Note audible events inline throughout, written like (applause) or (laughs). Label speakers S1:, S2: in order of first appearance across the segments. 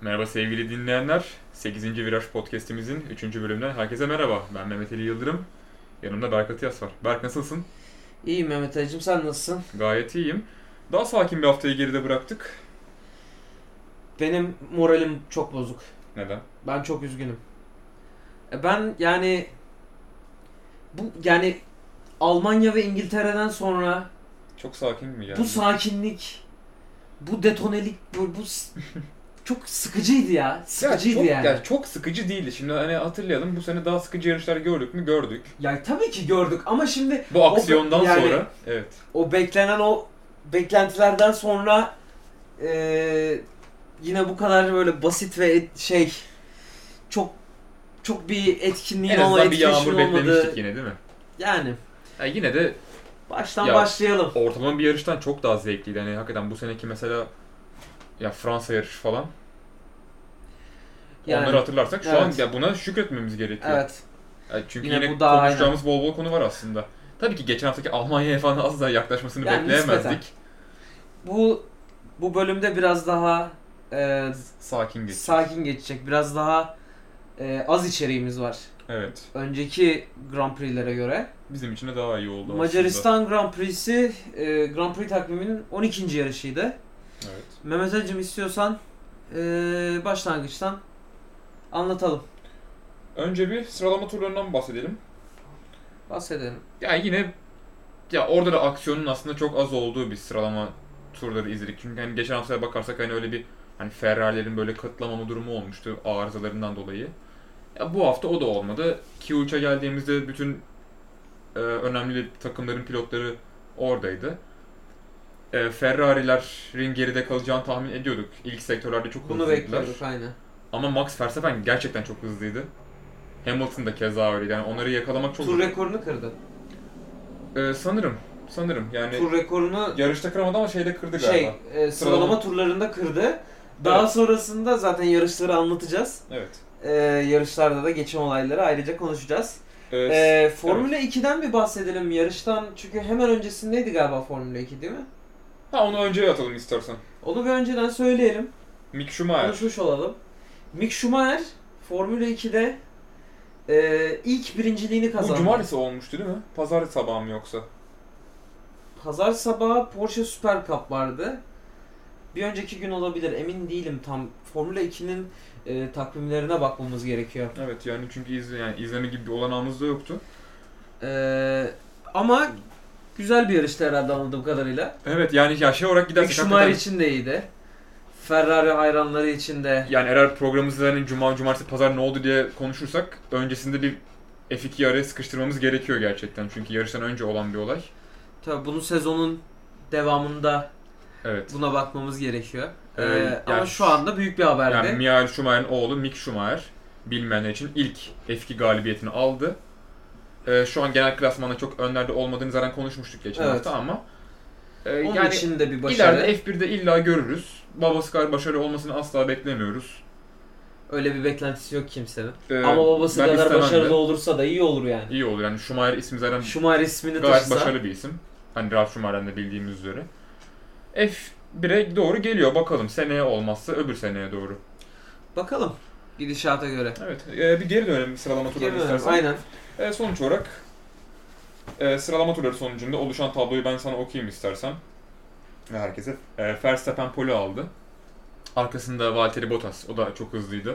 S1: Merhaba sevgili dinleyenler. 8. Viraj Podcast'imizin 3. bölümünden herkese merhaba. Ben Mehmet Ali Yıldırım. Yanımda Berk Atiyas var. Berk nasılsın?
S2: İyiyim Mehmet Ali'cim sen nasılsın?
S1: Gayet iyiyim. Daha sakin bir haftayı geride bıraktık.
S2: Benim moralim çok bozuk.
S1: Neden?
S2: Ben çok üzgünüm. E Ben yani bu yani Almanya ve İngiltere'den sonra
S1: Çok sakin mi geldi?
S2: bu sakinlik, bu detonelik, bu, bu s-
S1: (laughs)
S2: çok sıkıcıydı ya.
S1: Ya
S2: Sıkıcıydı
S1: çok,
S2: yani.
S1: ya çok sıkıcı değildi. Şimdi hani hatırlayalım bu sene daha sıkıcı yarışlar gördük mü? Gördük.
S2: Ya tabii ki gördük ama şimdi
S1: Bu aksiyondan
S2: yani-
S1: sonra evet.
S2: o beklenen o beklentilerden sonra eee, yine bu kadar böyle basit ve et- şey çok çok bir etkinliğin
S1: En
S2: ama
S1: azından bir
S2: etkileşimin
S1: yağmur
S2: olmadığı
S1: beklemiştik yine değil mi?
S2: yani
S1: Ya yine de
S2: baştan
S1: Ya-
S2: başlayalım.
S1: ortalama bir yarıştan çok daha zevkliydi. Hani hakikaten bu seneki mesela ya Fransa yarışı falan.
S2: Yani,
S1: Onları hatırlarsak şu an
S2: evet.
S1: ya buna şükretmemiz gerekiyor.
S2: evet.
S1: Yani çünkü
S2: Yine
S1: yine,
S2: bu daha
S1: konuşacağımız bol bol konu var aslında. Tabii ki geçen haftaki Almanya'ya falan az daha yaklaşmasını
S2: Yani
S1: bekleyemezdik.
S2: nispeten. Bu bu bölümde biraz daha eee,
S1: Sakin geç.
S2: sakin geçecek. Biraz daha eee, az içeriğimiz var.
S1: Evet.
S2: Önceki Grand Prix'lere göre.
S1: Bizim için de daha iyi oldu
S2: Macaristan Grand Prix'si eee, Grand Prix takviminin 12. yarışıydı.
S1: aslında. Evet.
S2: Mehmet Ali'cim istiyorsan eee, başlangıçtan anlatalım,
S1: Önce bir sıralama turlarından bahsedelim.
S2: bahsedelim.
S1: Yani yine ya orada da aksiyonun aslında çok az olduğu bir sıralama turları izledik. Çünkü hani geçen haftaya bakarsak hani öyle bir hani Ferrari'lerin böyle katılamama durumu olmuştu arızalarından dolayı. Ya bu hafta o da olmadı. Q3'e geldiğimizde bütün e, önemli takımların pilotları oradaydı. E, Ferrari'lerin geride kalacağını tahmin ediyorduk. İlk sektörlerde çok
S2: Bunu
S1: hızlıydılar.
S2: bekliyorduk aynen.
S1: Ama Max Verstappen gerçekten çok hızlıydı. Hamilton da keza öyleydi. Yani onları yakalamak çok
S2: Tur
S1: zor.
S2: rekorunu kırdı.
S1: E, sanırım. Sanırım. Yani
S2: Tur rekorunu
S1: Yarışta kıramadı Hani ama şeyde kırdı
S2: şey
S1: galiba.
S2: eee, sıralama turlarında kırdı. Daha
S1: Evet.
S2: sonrasında zaten yarışları anlatacağız.
S1: Evet.
S2: Eee, yarışlarda da geçen olayları ayrıca konuşacağız.
S1: Ee,
S2: Eee Formula 2'den bir bahsedelim yarıştan. Çünkü hemen öncesindeydi galiba Formula 2 değil mi?
S1: ha onu önce atalım istersen.
S2: Onu bir önceden söyleyelim.
S1: Mick Schumacher.
S2: konuşmuş olalım. Mick Schumacher Formula 2'de e, ilk birinciliğini kazandı.
S1: Bu cumartesi olmuştu değil mi? Pazar sabahı mı yoksa?
S2: Pazar sabahı Porsche Super Cup vardı. Bir önceki gün olabilir emin değilim tam. Formula 2'nin e, takvimlerine bakmamız gerekiyor.
S1: Evet yani çünkü izle, yani izleme gibi bir olanağımız da yoktu.
S2: E, ama güzel bir yarıştı herhalde anladığım kadarıyla.
S1: Evet yani ya şey olarak
S2: Mick
S1: gidersek
S2: Schumacher
S1: hakikaten...
S2: için de iyiydi. Ferrari hayranları için de
S1: Yani eğer programımızda hani cuma, cumartesi, pazar ne oldu diye konuşursak öncesinde bir F2'yi araya sıkıştırmamız gerekiyor gerçekten. Çünkü yarıştan önce olan bir olay.
S2: tabii bunu sezonun devamında
S1: Evet.
S2: buna bakmamız gerekiyor. E,
S1: Evet,
S2: ama
S1: yani-
S2: şu anda büyük bir haberdi.
S1: Yani Michael Schumacher'ın oğlu Mick Schumacher bilmeyenler için ilk F2 galibiyetini aldı. Ee, şu an genel klasmanda çok önlerde olmadığını zaten konuşmuştuk geçen
S2: Evet.
S1: hafta ama e,
S2: Onun
S1: yani
S2: için de bir başarı.
S1: ileride F1'de illa görürüz. Babası kadar başarılı olmasını asla beklemiyoruz.
S2: Öyle bir beklentisi yok kimsenin.
S1: Ee,
S2: Ama babası
S1: ben
S2: kadar
S1: istemem de.
S2: başarılı olursa da iyi olur yani.
S1: İyi olur yani Schumacher ismi zaten
S2: Schumacher ismini
S1: gayet
S2: taşısa.
S1: başarılı bir isim. Hani Ralf Schumacher'den de bildiğimiz üzere. F1'e doğru geliyor bakalım seneye olmazsa öbür seneye doğru.
S2: Bakalım gidişata göre.
S1: Evet e, bir geri dönelim sıralama turlarına
S2: Bilmiyorum,
S1: istersen.
S2: Aynen.
S1: E, sonuç olarak e, sıralama turları sonucunda oluşan tabloyu ben sana okuyayım istersen. Ve herkese. E, Verstappen pole aldı. Arkasında Valtteri Bottas. O da çok hızlıydı.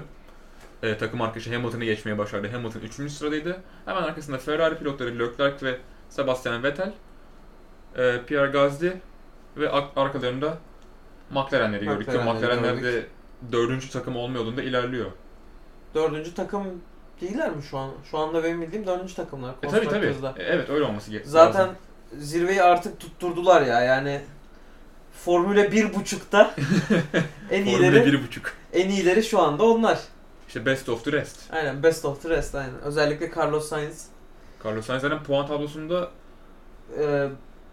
S1: E, takım arkadaşı Hamilton'ı geçmeye başardı. Hamilton 3. sıradaydı. Hemen arkasında Ferrari pilotları Leclerc ve Sebastian Vettel. E, Pierre Gasly ve ak- arkalarında McLaren'leri gördük. ki
S2: McLaren'leri
S1: McLaren'ler de
S2: gördük.
S1: dördüncü takım olma yolunda ilerliyor.
S2: Dördüncü takım değiller mi şu an? Şu anda benim bildiğim dördüncü takımlar.
S1: E tabi tabi.
S2: konstruktörde.
S1: evet öyle olması gerekiyor.
S2: Zaten zirveyi artık tutturdular ya yani.
S1: (laughs)
S2: Formüle 1.5'ta en
S1: Formula
S2: iyileri
S1: 1.5.
S2: en iyileri şu anda onlar.
S1: İşte best of the rest.
S2: Aynen best of the rest aynen. Özellikle Carlos Sainz
S1: Carlos Sainz zaten puan tablosunda
S2: e,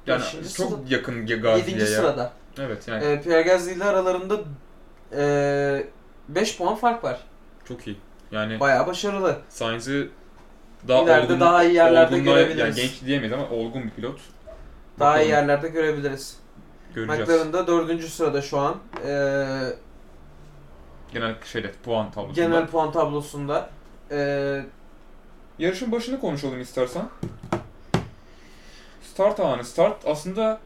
S1: yani
S2: Beşinci
S1: çok
S2: sırada.
S1: yakın Ge-
S2: 7.
S1: Gasly'e ya.
S2: sırada.
S1: Evet yani
S2: E, Pierre Gasly ile aralarında 5 puan fark var.
S1: çok iyi. Yani
S2: Bayağı başarılı.
S1: Sainz'i daha
S2: İleride
S1: olgun,
S2: daha iyi yerlerde
S1: olgun da-
S2: görebiliriz.
S1: Yani genç diyemeyiz ama olgun bir pilot.
S2: Daha iyi
S1: Bakalım,
S2: yerlerde görebiliriz.
S1: Göreceğiz.
S2: McLaren da 4. sırada şu an. E,
S1: Genel şeyde puan tablosunda.
S2: Genel puan tablosunda. Ee,
S1: Yarışın başını konuşalım istersen. Start anı. Start aslında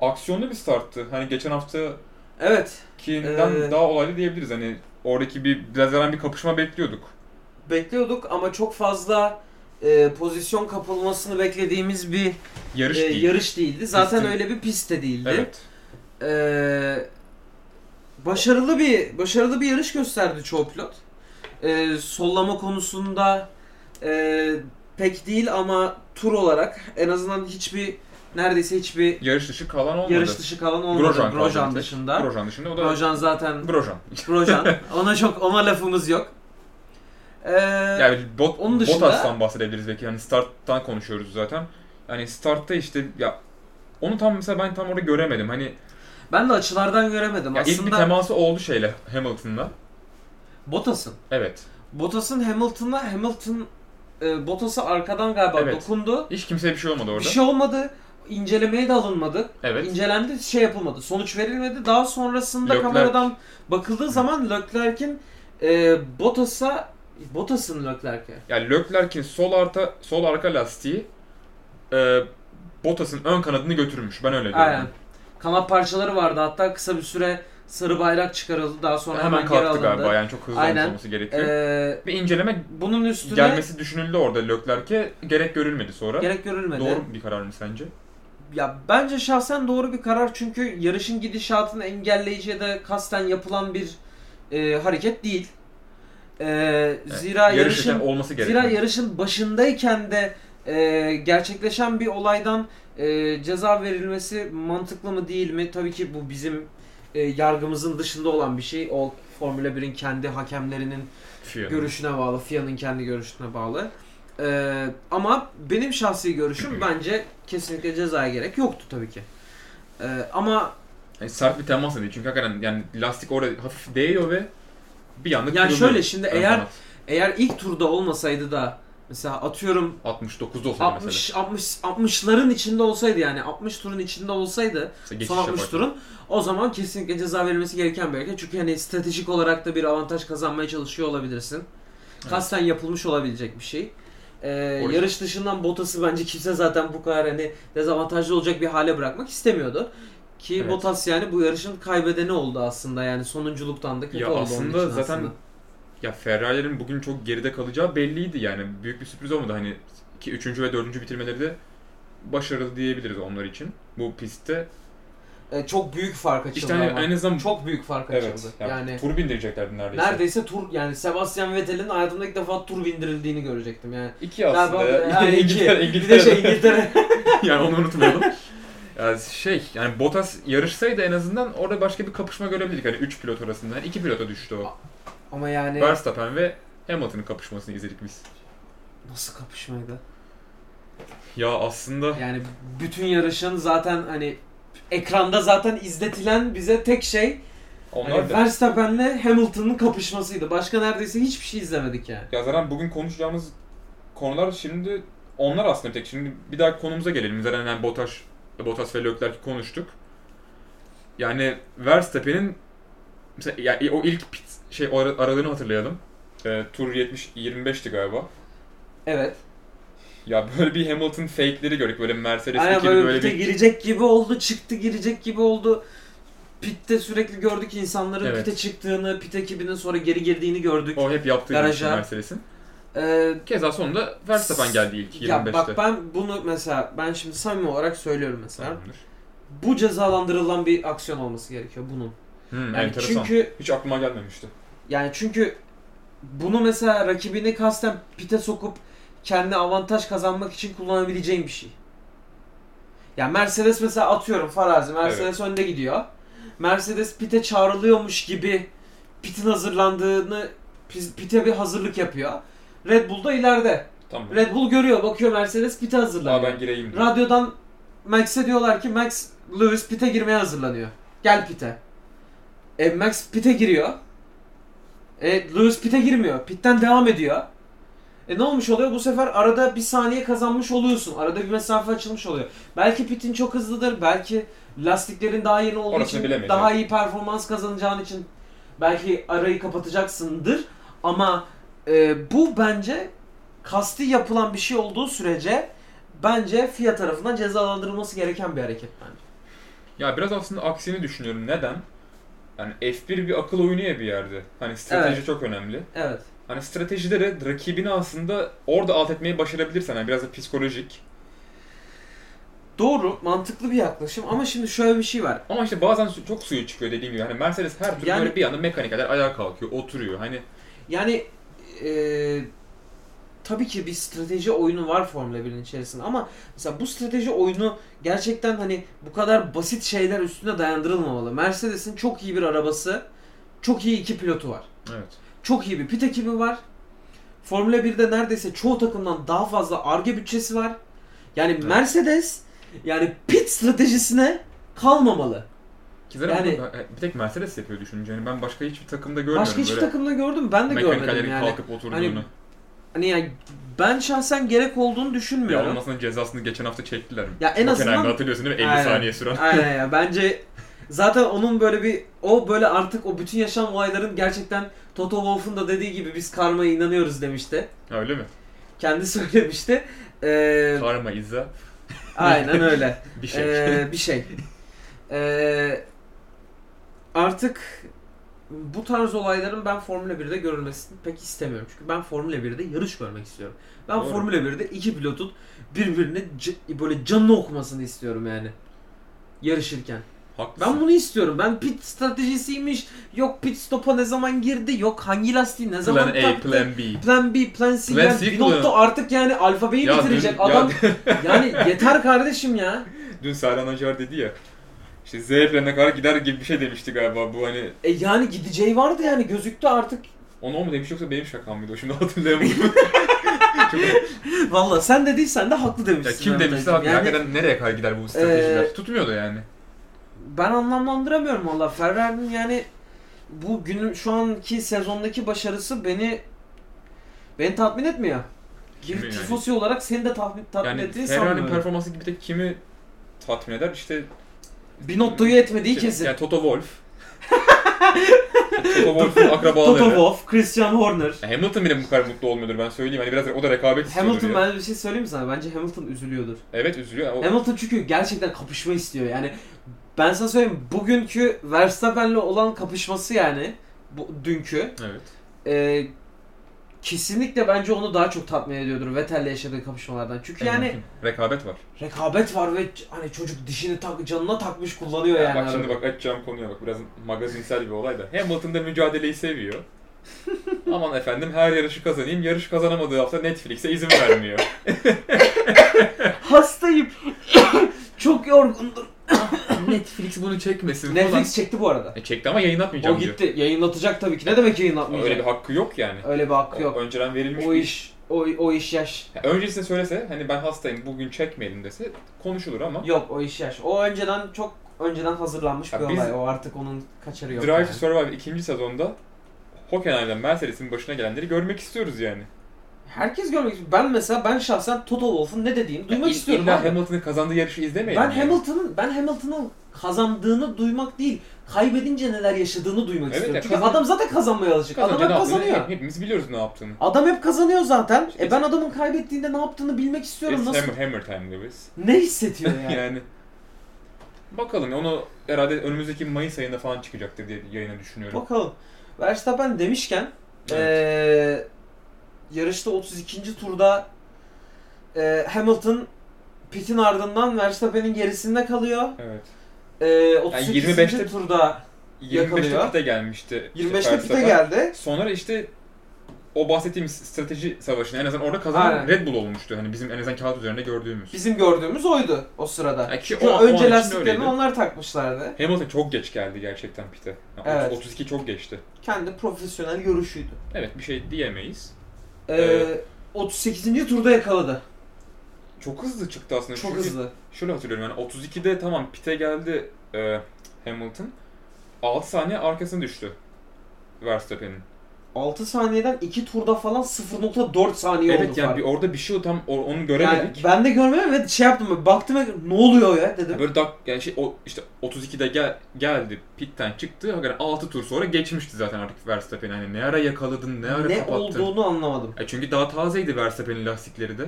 S1: aksiyonlu bir starttı. Hani geçen haftakinden
S2: evet. Ee,
S1: daha olaylı diyebiliriz. Hani oradaki bir biraz evvel bir kapışma bekliyorduk.
S2: Bekliyorduk ama çok fazla e, pozisyon kapılmasını beklediğimiz bir
S1: Yarış
S2: e,
S1: değil.
S2: yarış değildi. Zaten
S1: Pistin-
S2: öyle bir pist de değildi.
S1: Evet.
S2: Ee, başarılı bir başarılı bir yarış gösterdi çoğu pilot. Ee, sollama konusunda e, pek değil ama tur olarak en azından hiçbir neredeyse hiçbir
S1: Yarış dışı kalan olmadı.
S2: yarış dışı kalan olmadı
S1: Grosjean,
S2: Grosjean,
S1: kaldı bir tek.
S2: dışında. Grosjean,
S1: Grosjean dışında o da
S2: zaten
S1: Grosjean.
S2: Grosjean. ona çok ona lafımız yok. Ee,
S1: Yani bot,
S2: Onun dışında-
S1: Bottas'tan bahsedebiliriz belki. Hani starttan konuşuyoruz zaten. Yani startta işte ya onu tam mesela ben tam orada göremedim. Hani
S2: ben de açılardan göremedim.
S1: ya ilk bir
S2: Aslında
S1: teması oldu şeyle Hamilton'la.
S2: Bottas'ın
S1: Evet.
S2: Bottas'ın Hamilton'la Hamilton e, Bottas'a arkadan galiba
S1: Evet.
S2: dokundu.
S1: Hiç kimseye bir şey olmadı orada.
S2: Bir şey olmadı. İncelemeye de alınmadı.
S1: Evet.
S2: İncelendi, şey yapılmadı. Sonuç verilmedi. Daha sonrasında
S1: Leclerc.
S2: kameradan bakıldığı zaman Leclerc'in e, Bottas'a Bottas'ın Leclerc'e.
S1: Yani Leclerc'in sol arka sol arka lastiği e, Bottas'ın ön kanadını götürmüş. Ben öyle diyorum.
S2: Aynen. Kanat parçaları vardı. Hatta kısa bir süre sarı bayrak çıkarıldı. Daha sonra
S1: Hemen,
S2: hemen, geri
S1: kalktı
S2: alındı.
S1: galiba. Yani çok hızlı olmuş
S2: Aynen.
S1: olması gerekiyor.
S2: E,
S1: bir inceleme
S2: bunun üstüne
S1: gelmesi düşünüldü orada Leclerc'e. Gerek görülmedi sonra.
S2: gerek görülmedi.
S1: Doğru bir karar mı sence?
S2: Ya bence şahsen doğru bir karar çünkü yarışın gidişatını engelleyici ya da kasten yapılan bir e, hareket değil. E, zira
S1: Yarışırken
S2: yarışın
S1: olması gerekiyor.
S2: Zira yarışın başındayken de e, gerçekleşen bir olaydan e, ceza verilmesi mantıklı mı değil mi? Tabii ki bu bizim e, yargımızın dışında olan bir şey. O Formula 1'in kendi hakemlerinin
S1: Fiyo.
S2: görüşüne bağlı, FIA'nın kendi görüşüne bağlı. E, ama benim şahsi görüşüm bence kesinlikle cezaya gerek yoktu tabii ki. E, ama
S1: Yani sert bir temas da değil. Çünkü hakikaten yani lastik orada hafif değiyor ve bir anda
S2: yani
S1: kırılıyor.
S2: şöyle şimdi
S1: Ön
S2: eğer
S1: kanat.
S2: eğer ilk turda olmasaydı da mesela atıyorum
S1: 69'da olsaydı
S2: 60 60 60'ların içinde olsaydı yani 60 turun içinde olsaydı
S1: mesela. geçiş
S2: son 60
S1: yaparken.
S2: turun o zaman kesinlikle ceza verilmesi gereken bir hareket. Çünkü hani stratejik olarak da bir avantaj kazanmaya çalışıyor olabilirsin. Kasten yapılmış olabilecek bir şey. Ee,
S1: yüzden-
S2: yarış dışından Bottas'ı bence kimse zaten bu kadar hani dezavantajlı olacak bir hale bırakmak istemiyordu. Ki
S1: Evet.
S2: Bottas yani bu yarışın kaybedeni oldu aslında yani sonunculuktan da kötü
S1: Ya
S2: oldu
S1: aslında
S2: onun için
S1: zaten
S2: aslında.
S1: Ya Ferrari'lerin bugün çok geride kalacağı belliydi yani. Büyük bir sürpriz olmadı hani ki 3. ve 4. bitirmeleri de başarılı diyebiliriz onlar için. Bu pistte
S2: Ee, çok büyük fark açıldı
S1: işte hani
S2: ama.
S1: en azından
S2: Çok büyük fark
S1: evet,
S2: açıldı.
S1: yani,
S2: yani
S1: tur bindireceklerdi neredeyse.
S2: Neredeyse tur yani Sebastian Vettel'in hayatımda ilk defa tur bindirildiğini görecektim yani.
S1: İki aslında. ya.
S2: Galiba- yani
S1: (laughs)
S2: iki.
S1: İngiltere,
S2: Bir de
S1: İngiltere.
S2: şey İngiltere.
S1: (laughs) yani onu unutmayalım. Yani şey yani Bottas yarışsaydı en azından orada başka bir kapışma görebilirdik. Hani 3 pilot arasında. Yani 2 pilota düştü o.
S2: (laughs) Ama yani
S1: Verstappen ve Hamilton'ın kapışmasını izledik biz.
S2: nasıl kapışmaydı?
S1: Ya aslında
S2: Yani bütün yarışın zaten hani ekranda zaten izletilen bize tek şey
S1: onlar
S2: hani
S1: da...
S2: Verstappen'le Hamilton'ın kapışmasıydı. Başka neredeyse hiçbir şey izlemedik yani.
S1: Ya zaten bugün konuşacağımız konular şimdi onlar aslında bir tek. Şimdi bir daha konumuza gelelim. Zaten yani Bottas, Bottas ve Leclerc'i konuştuk. Yani Verstappen'in mesela yani o ilk pit, şey o ara- aralığını hatırlayalım. Ee, tur 70 25'ti galiba.
S2: Evet.
S1: Ya böyle bir Hamilton fake'leri gördük. Böyle Mercedes
S2: Aynen
S1: ikili
S2: böyle,
S1: böyle
S2: pite
S1: bir
S2: girecek gibi oldu, çıktı girecek gibi oldu. Pitte sürekli gördük insanların
S1: Evet.
S2: pite çıktığını, pit ekibinin sonra geri girdiğini gördük.
S1: o hep yaptığı
S2: Garaja.
S1: bir şey Mercedes'in.
S2: Ee,
S1: Keza sonunda Verstappen geldi ilk 25'te.
S2: Ya bak ben bunu mesela ben şimdi samimi olarak söylüyorum mesela.
S1: Tamamdır.
S2: Bu cezalandırılan bir aksiyon olması gerekiyor bunun.
S1: Hı,
S2: Yani
S1: Hmm, enteresan.
S2: çünkü
S1: Hiç aklıma gelmemişti.
S2: yani çünkü bunu mesela rakibini kasten pite sokup kendi avantaj kazanmak için kullanabileceğin bir şey. Ya Mercedes mesela atıyorum farazi Mercedes önde gidiyor. Mercedes pite çağrılıyormuş gibi pitin hazırlandığını pis- pite bir hazırlık yapıyor. Red Bull da ileride.
S1: Tamam.
S2: Red Bull görüyor bakıyor Mercedes pite hazırlanıyor.
S1: Aa ben gireyim. diyor.
S2: Radyodan Max'e diyorlar ki Max Lewis pite girmeye hazırlanıyor. Gel pite. E Max pite giriyor. E Lewis pite girmiyor. Pitten devam ediyor. E ne olmuş oluyor? Bu sefer arada bir saniye kazanmış oluyorsun. Arada bir mesafe açılmış oluyor. Belki pitin çok hızlıdır. Belki lastiklerin daha yeni olduğu
S1: Orasını
S2: için
S1: bilemeyiz,
S2: daha iyi performans kazanacağın için Belki arayı kapatacaksındır ama e, bu bence kasti yapılan bir şey olduğu sürece bence FIA tarafından cezalandırılması gereken bir hareket bence.
S1: Ya biraz aslında aksini düşünüyorum. Neden? Yani F1 bir akıl oyunu ya bir yerde. Hani strateji
S2: Evet.
S1: çok önemli.
S2: Evet.
S1: Hani stratejide de rakibini aslında orada alt etmeyi başarabilirsen. Yani biraz da psikolojik.
S2: Doğru, mantıklı bir yaklaşım ama şimdi şöyle bir şey var.
S1: Ama işte bazen su- çok suyu çıkıyor dediğim gibi. Hani Mercedes her türlü
S2: Yani-
S1: böyle bir anda mekanikerler ayağa kalkıyor, oturuyor. Hani
S2: Yani e, tabii ki bir strateji oyunu var Formula 1'in içerisinde ama mesela bu strateji oyunu gerçekten hani bu kadar basit şeyler üstüne dayandırılmamalı. Mercedes'in çok iyi bir arabası, çok iyi iki pilotu var.
S1: evet.
S2: Çok iyi bir pit ekibi var. Formula 1'de neredeyse çoğu takımdan daha fazla Arge bütçesi var. Yani Mercedes yani pit stratejisine kalmamalı.
S1: Ki zaten
S2: Yani-
S1: bunu bir tek Mercedes yapıyor düşününce. Yani ben başka hiçbir takımda görmüyorum
S2: Başka hiçbir
S1: böyle
S2: takımda gördüm ben de görmedim
S1: mekanikerlerin
S2: yani.
S1: kalkıp oturduğunu.
S2: Hani yani ben şahsen gerek olduğunu
S1: Ya
S2: düşünmüyorum.
S1: onun aslında cezasını geçen hafta çektiler.
S2: Ya en
S1: Çok
S2: azından-
S1: önemli, hatırlıyorsun değil mi? 50
S2: Aynen.
S1: saniye süren.
S2: Aynen ya bence zaten onun böyle bir o böyle artık o bütün yaşam olayların gerçekten Toto Wolff'un da dediği gibi biz karmaya inanıyoruz demişti.
S1: Ha, öyle mi?
S2: Kendi (laughs) söylemişti. Ee,
S1: Karma, izza,
S2: aynen öyle.
S1: (laughs) bir şey.
S2: Ee, bir şey. Ee, artık bu tarz olayların ben Formula 1'de görülmesini pek istemiyorum. Çünkü ben Formula 1'de yarış görmek istiyorum. Ben
S1: Doğru.
S2: Formula 1'de iki pilotun birbirine c- böyle canını okumasını istiyorum yani. Yarışırken.
S1: Haklısın.
S2: Ben bunu istiyorum. Ben pit stratejisiymiş. Yok pit stopa ne zaman girdi. Yok hangi lastiği ne zaman
S1: plan A,
S2: taktı.
S1: plan B.
S2: Plan B, Plan C.
S1: Plan
S2: yani
S1: C
S2: bir
S1: kullanıyor.
S2: nokta artık yani alfabeyi
S1: Ya
S2: bitirecek
S1: dün- ya
S2: adam. yani yeter kardeşim ya.
S1: (laughs) Dün Serhan Acar dedi ya. İşte Z planına kadar gider gibi bir şey demişti galiba bu hani.
S2: E yani gideceği vardı yani gözüktü artık.
S1: Onu o mu demiş yoksa benim şakam mıydı? O Şimdi
S2: (laughs)
S1: hatırlayamadım. Çok-
S2: Valla sen dediysen de haklı
S1: ya
S2: demişsin.
S1: kim
S2: Mehmet
S1: demişti
S2: Ali'cim.
S1: abi hakikaten nereye kadar gider bu stratejiler?
S2: Ee,
S1: Tutmuyordu yani.
S2: Ben anlamlandıramıyorum valla. Ferrari'nin yani bu günün şu anki sezondaki başarısı beni beni tatmin etmiyor. Gibi
S1: Kimi yani?
S2: tifosi olarak seni de tatmin, tatmin
S1: Yani
S2: ettiğini
S1: Ferrari'nin
S2: sanmıyorum.
S1: performansı gibi de kimi tatmin eder? İşte
S2: Binotto'yu etmediği
S1: kim-
S2: kesin.
S1: Şey, Yani Toto
S2: (laughs)
S1: Wolff. Toto Wolff'un akrabaları.
S2: Toto Wolff, Christian Horner.
S1: Ya Hamilton bile bu kadar mutlu olmuyordur ben söyleyeyim. Hani biraz o da rekabet istiyordur
S2: Hamilton
S1: ya.
S2: ben bir şey söyleyeyim mi sana? Bence Hamilton üzülüyordur.
S1: Evet üzülüyor. O-
S2: Hamilton çünkü gerçekten kapışma istiyor. Yani ben sana söyleyeyim bugünkü Verstappen'le olan kapışması yani bu, dünkü
S1: Evet.
S2: e, kesinlikle bence onu daha çok tatmin ediyordur Vettel'le yaşadığı kapışmalardan. Çünkü yani
S1: Mümkün. rekabet var.
S2: rekabet var ve c- hani çocuk dişini tak canına takmış kullanıyor yani.
S1: bak şimdi
S2: arada.
S1: bak açacağım konuya bak biraz magazinsel bir olay da. Hamilton da mücadeleyi seviyor.
S2: (laughs)
S1: Aman efendim her yarışı kazanayım. Yarış kazanamadığı hafta Netflix'e izin
S2: (laughs)
S1: vermiyor.
S2: Hastayım. (coughs) çok yorgundum.
S1: Netflix bunu çekmesin
S2: Netflix çekti bu arada.
S1: E çekti ama yayınlatmayacağım
S2: O
S1: diyor.
S2: gitti. Yayınlatacak tabii ki. Ne demek yayınlatmayacak?
S1: Öyle bir hakkı yok yani.
S2: Öyle bir hakkı yok.
S1: O Önceden verilmiş
S2: O
S1: bir
S2: iş o, o iş yaş.
S1: Ya Öncesinde söylese hani ben hastayım bugün çekmeyelim dese konuşulur ama
S2: Yok o iş yaş. O önceden çok önceden hazırlanmış
S1: Ya
S2: bir
S1: biz-
S2: olay. O artık onun kaçarı yok.
S1: Drive
S2: yani.
S1: to Survive ikinci sezonda Hockenheim'den Mercedes'in başına gelenleri görmek istiyoruz yani.
S2: Herkes görmek istiyor. Ben mesela ben şahsen Toto Wolff'un ne dediğini duymak
S1: Ya il-
S2: istiyorum.
S1: İlla
S2: abi.
S1: Hamilton'ın kazandığı yarışı izlemeyelim.
S2: Ben
S1: yani.
S2: Hamilton'ın ben Hamilton'ın kazandığını duymak değil, kaybedince neler yaşadığını duymak
S1: Evet,
S2: istiyorum.
S1: ya
S2: Çünkü
S1: kazan-
S2: adam zaten kazanmaya alışık. Adam
S1: Kazanınca
S2: hep
S1: ne yaptığını
S2: kazanıyor.
S1: hep- Hepimiz biliyoruz ne yaptığını.
S2: Adam hep kazanıyor zaten.
S1: İşte-
S2: E ben adamın kaybettiğinde ne yaptığını bilmek istiyorum.
S1: It's
S2: Nasıl
S1: Hammer, hammer time Lewis.
S2: ne hissediyor yani?
S1: yani. Bakalım onu herhalde önümüzdeki Mayıs ayında falan çıkacaktır diye yayına düşünüyorum.
S2: Bakalım. Verstappen demişken
S1: Evet.
S2: eee, yarışta 32. turda eee, Hamilton pitin ardından Verstappen'in gerisinde kalıyor.
S1: evet.
S2: Eee 38.
S1: 25'te
S2: turda
S1: 25'te
S2: Yakalıyor.
S1: pite gelmişti. işte
S2: 25'te pite
S1: Verstappen.
S2: geldi.
S1: Sonra işte o bahsettiğimiz strateji savaşını en azından orada kazanan
S2: Aynen.
S1: Red Bull olmuştu. Hani bizim en azından kağıt üzerinde gördüğümüz.
S2: Bizim gördüğümüz oydu o sırada.
S1: Yani ki
S2: Çünkü
S1: o- o an için
S2: önce lastiklerini
S1: öyleydi.
S2: onlar takmışlardı.
S1: Hamilton çok geç geldi gerçekten pite. Yani
S2: Evet.
S1: 32 çok geçti.
S2: Kendi profesyonel görüşüydü.
S1: Evet bir şey diyemeyiz.
S2: Ee,
S1: Evet.
S2: 38. turda yakaladı.
S1: Çok hızlı çıktı aslında.
S2: Çok
S1: Çünkü
S2: hızlı.
S1: Şöyle hatırlıyorum yani 32'de tamam pite geldi e, Hamilton. 6 saniye arkasına düştü Verstappen'in.
S2: 6 saniyeden 2 turda falan 0.4 saniye oldu
S1: Evet yani
S2: fark.
S1: bir, orada bir şey tam o- onu
S2: Yani
S1: göremedik.
S2: ben de görmedim ve şey yaptım böyle, baktım ve ne oluyor ya dedim.
S1: Böyle dak yani şey o işte 32'de gel, geldi pitten çıktı. Hakikaten 6 tur sonra geçmişti zaten artık Verstappen'i. Hani ne ara yakaladın, ne ara
S2: ne
S1: kapattın.
S2: olduğunu anlamadım.
S1: E çünkü daha tazeydi Verstappen'in lastikleri de.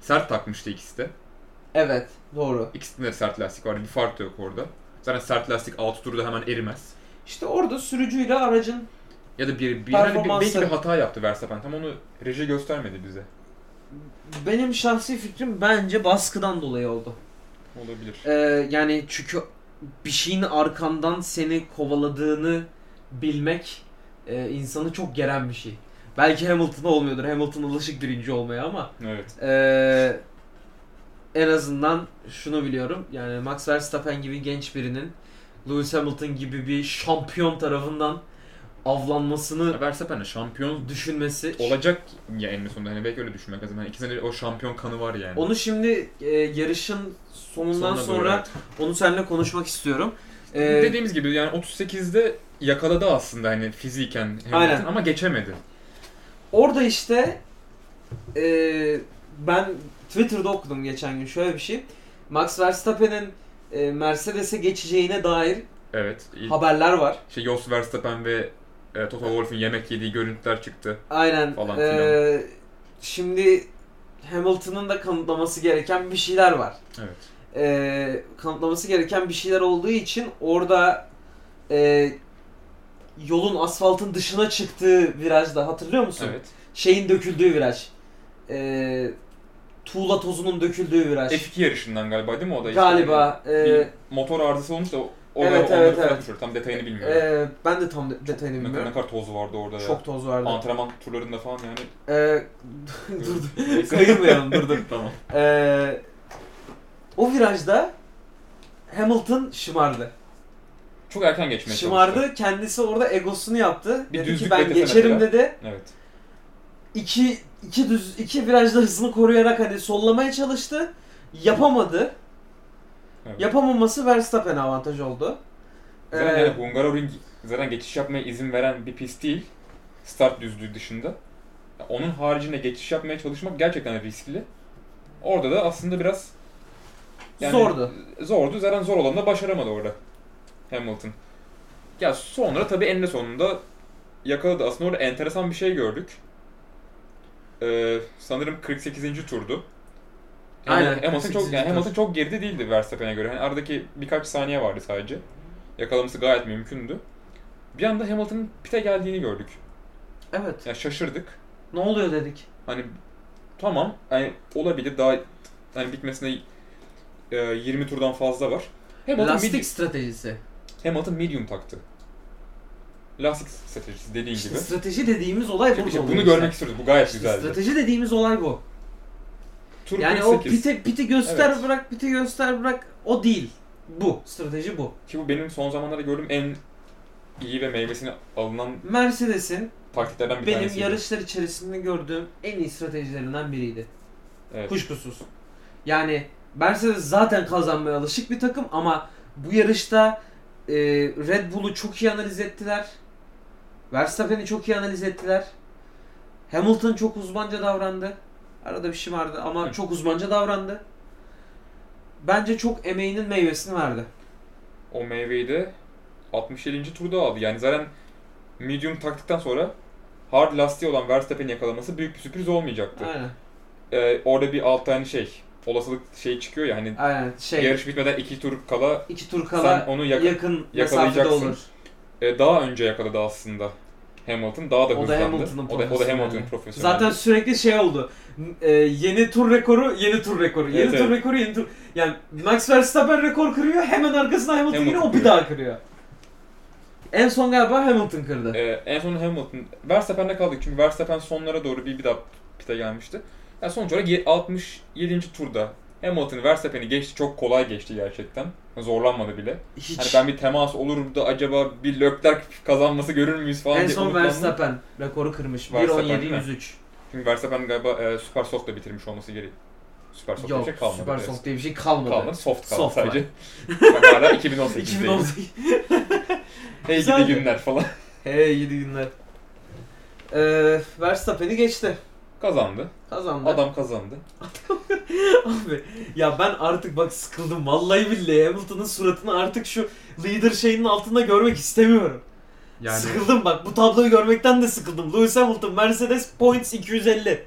S1: Sert takmıştı ikisi de.
S2: Evet doğru.
S1: İkisinde de sert lastik vardı. Bir fark da yok orada. Zaten sert lastik 6 turda hemen erimez.
S2: İşte orada sürücüyle aracın
S1: Ya da bir, bir, hani bir- belki
S2: Performansı.
S1: bir hata yaptı Verstappen. Tam onu reji göstermedi bize.
S2: benim şahsi fikrim bence baskıdan dolayı oldu.
S1: Olabilir.
S2: Ee, yani çünkü bir şeyin arkandan seni kovaladığını bilmek e, insanı çok geren bir şey. Belki Hamilton'a olmuyordur. Hamilton alışık birinci olmaya ama
S1: Evet.
S2: e, en azından şunu biliyorum. Yani Max Verstappen gibi genç birinin Lewis Hamilton gibi bir şampiyon tarafından avlanmasını
S1: Ya Verstappen'e şampiyon
S2: düşünmesi
S1: olacak ya en sonunda. Hani belki öyle düşünmek lazım. Hani iki senedir o şampiyon kanı var yani.
S2: Onu şimdi e, yarışın sonundan
S1: Sonuna doğru,
S2: sonra
S1: evet.
S2: onu seninle konuşmak istiyorum. E,
S1: Dediğimiz gibi yani 38'de yakaladı aslında hani fiziken Hamilton
S2: Aynen.
S1: ama geçemedi.
S2: Orada işte e, ben Twitter'da okudum geçen gün şöyle bir şey. Max Verstappen'in e, Mercedes'e geçeceğine dair
S1: Evet. İlk-
S2: haberler var.
S1: Şey Jos Verstappen ve e, Toto Wolff'un yemek yediği görüntüler çıktı.
S2: Aynen.
S1: Falan
S2: e,
S1: filan.
S2: şimdi Hamilton'ın da kanıtlaması gereken bir şeyler var.
S1: Evet.
S2: e, kanıtlaması gereken bir şeyler olduğu için orada e, yolun asfaltın dışına çıktığı virajda hatırlıyor musun?
S1: Evet.
S2: Şeyin döküldüğü viraj. E, tuğla tozunun döküldüğü viraj.
S1: F2 yarışından galiba değil mi o da? işte
S2: Galiba.
S1: bir-
S2: e,
S1: bir motor arızası olmuş da o- orada
S2: Evet,
S1: evet,
S2: evet,
S1: evet,
S2: evet.
S1: Tam detayını bilmiyorum.
S2: e, ben de tam de- detayını
S1: ne, kadar, ne
S2: bilmiyorum.
S1: kadar toz vardı orada ya.
S2: Çok toz vardı.
S1: Antrenman turlarında falan yani.
S2: E, (laughs) dur dur.
S1: Neyse.
S2: Kayırmayalım dur dur.
S1: tamam.
S2: E, o virajda Hamilton şımardı.
S1: Çok erken geçmeye çalıştı.
S2: Şımardı. Kendisi orada egosunu yaptı.
S1: Bir
S2: dedi ki
S1: düzlük
S2: ben
S1: beklesene biraz."
S2: geçerim dedi.
S1: Evet.
S2: iki, iki düz iki virajda hızını koruyarak hani sollamaya çalıştı. Yapamadı.
S1: evet.
S2: Yapamaması Verstappen'e avantaj oldu.
S1: Zaten
S2: Ee,
S1: yani Hungaroring zaten geçiş yapmaya izin veren bir pist değil. Start düzlüğü dışında. Ya Onun haricinde geçiş yapmaya çalışmak gerçekten riskli. Orada da aslında biraz yani-
S2: zordu.
S1: zordu. Zaten zor olanı da başaramadı orada Hamilton. Ya sonra tabii eninde sonunda yakaladı. Aslında orada enteresan bir şey gördük. Ee, sanırım 48. turdu. Hamil-
S2: Aynen,
S1: Hamilton çok,
S2: 48.
S1: yani
S2: tur.
S1: Hamilton çok geride değildi Verstappen'e göre. Yani aradaki birkaç saniye vardı sadece. Yakalaması gayet mümkündü. Bir anda Hamilton'ın pite geldiğini gördük.
S2: Ee, Evet.
S1: Yani şaşırdık.
S2: Ne oluyor dedik.
S1: Hani tamam yani olabilir daha hani bitmesine e, 20 turdan fazla var. Hamilton midi-
S2: Lastik stratejisi.
S1: Hamilton medium taktı. Lastik stratejisi dediğin
S2: İşte
S1: gibi.
S2: strateji dediğimiz olay
S1: İşte
S2: burada oluyor
S1: bunu
S2: işte.
S1: görmek istiyoruz. Bu gayet
S2: İşte
S1: güzeldi.
S2: strateji dediğimiz olay bu.
S1: Tur
S2: Yani o
S1: 48.
S2: pite piti göster
S1: Evet.
S2: bırak, piti göster bırak o değil. Bu strateji bu.
S1: Ki bu benim son zamanlarda gördüğüm en iyi ve meyvesini alınan
S2: Mercedes'in
S1: taktiklerden bir
S2: benim
S1: tanesiydi.
S2: yarışlar içerisinde gördüğüm en iyi stratejilerinden biriydi.
S1: Evet.
S2: Kuşkusuz. Yani Mercedes zaten kazanmaya alışık bir takım ama bu yarışta e, Red Bull'u çok iyi analiz ettiler. Verstappen'i çok iyi analiz ettiler. Hamilton çok uzmanca davrandı. Arada bir şey vardı ama
S1: Hı.
S2: çok uzmanca davrandı. Bence çok emeğinin meyvesini verdi.
S1: O meyveyi de 67. turda aldı. Yani zaten medium taktıktan sonra hard lastiği olan Verstappen'in yakalaması büyük bir sürpriz olmayacaktı.
S2: Aynen.
S1: Ee, orada bir alt tane şey, olasılık şey çıkıyor ya hani
S2: Aynen. Şey
S1: yarış bitmeden iki tur kala
S2: iki tur
S1: sen
S2: kala
S1: onu yak-
S2: yakın mesafede
S1: yakalayacaksın.
S2: olur.
S1: E, daha önce yakaladı aslında Hamilton. Daha da
S2: O da
S1: hızlandı.
S2: Hamilton'ın
S1: o da, o da
S2: profesyoneli.
S1: Hamilton'ın profesyoneli.
S2: Zaten sürekli şey oldu. E, yeni tur rekoru, yeni tur rekoru, yeni
S1: Evet,
S2: tur
S1: evet.
S2: rekoru, yeni tur. Yani Max Verstappen rekor kırıyor, hemen arkasına Hamilton,
S1: Hamilton
S2: yine o bir
S1: kırıyor.
S2: daha kırıyor. En son galiba Hamilton kırdı.
S1: E, en son Hamilton. Verstappen'de kaldık çünkü Verstappen sonlara doğru bir, bir daha pite gelmişti. Yani sonuç olarak ye- 67. turda Hamilton Verstappen'i geçti. Çok kolay geçti gerçekten. Zorlanmadı bile.
S2: Hiç.
S1: Hani ben bir temas olur da acaba bir Leclerc kazanması görür müyüz falan
S2: en
S1: diye
S2: son
S1: umutlandım.
S2: Verstappen rekoru kırmış.
S1: Verstappen değil mi?
S2: 1.17.103.
S1: Çünkü Verstappen galiba e, Super Soft'la bitirmiş olması geri. Super Soft diye bir
S2: Yok,
S1: şey kalmadı.
S2: Süper
S1: Evet.
S2: Soft diye bir şey kalmadı.
S1: Kalmadı. Soft kaldı
S2: Soft
S1: sadece. Ben (laughs) hala 2018'deyim.
S2: (laughs) 2018.
S1: Hey gidi
S2: Güzeldi.
S1: günler falan.
S2: Hey iyi günler. Ee, Verstappen'i geçti.
S1: Kazandı.
S2: Kazandı.
S1: Adam kazandı.
S2: Abi ya ben artık bak sıkıldım. Vallahi billahi Hamilton'ın suratını artık şu leader şeyinin altında görmek istemiyorum.
S1: Yani
S2: Sıkıldım bak bu tabloyu görmekten de sıkıldım. Lewis Hamilton Mercedes points 250.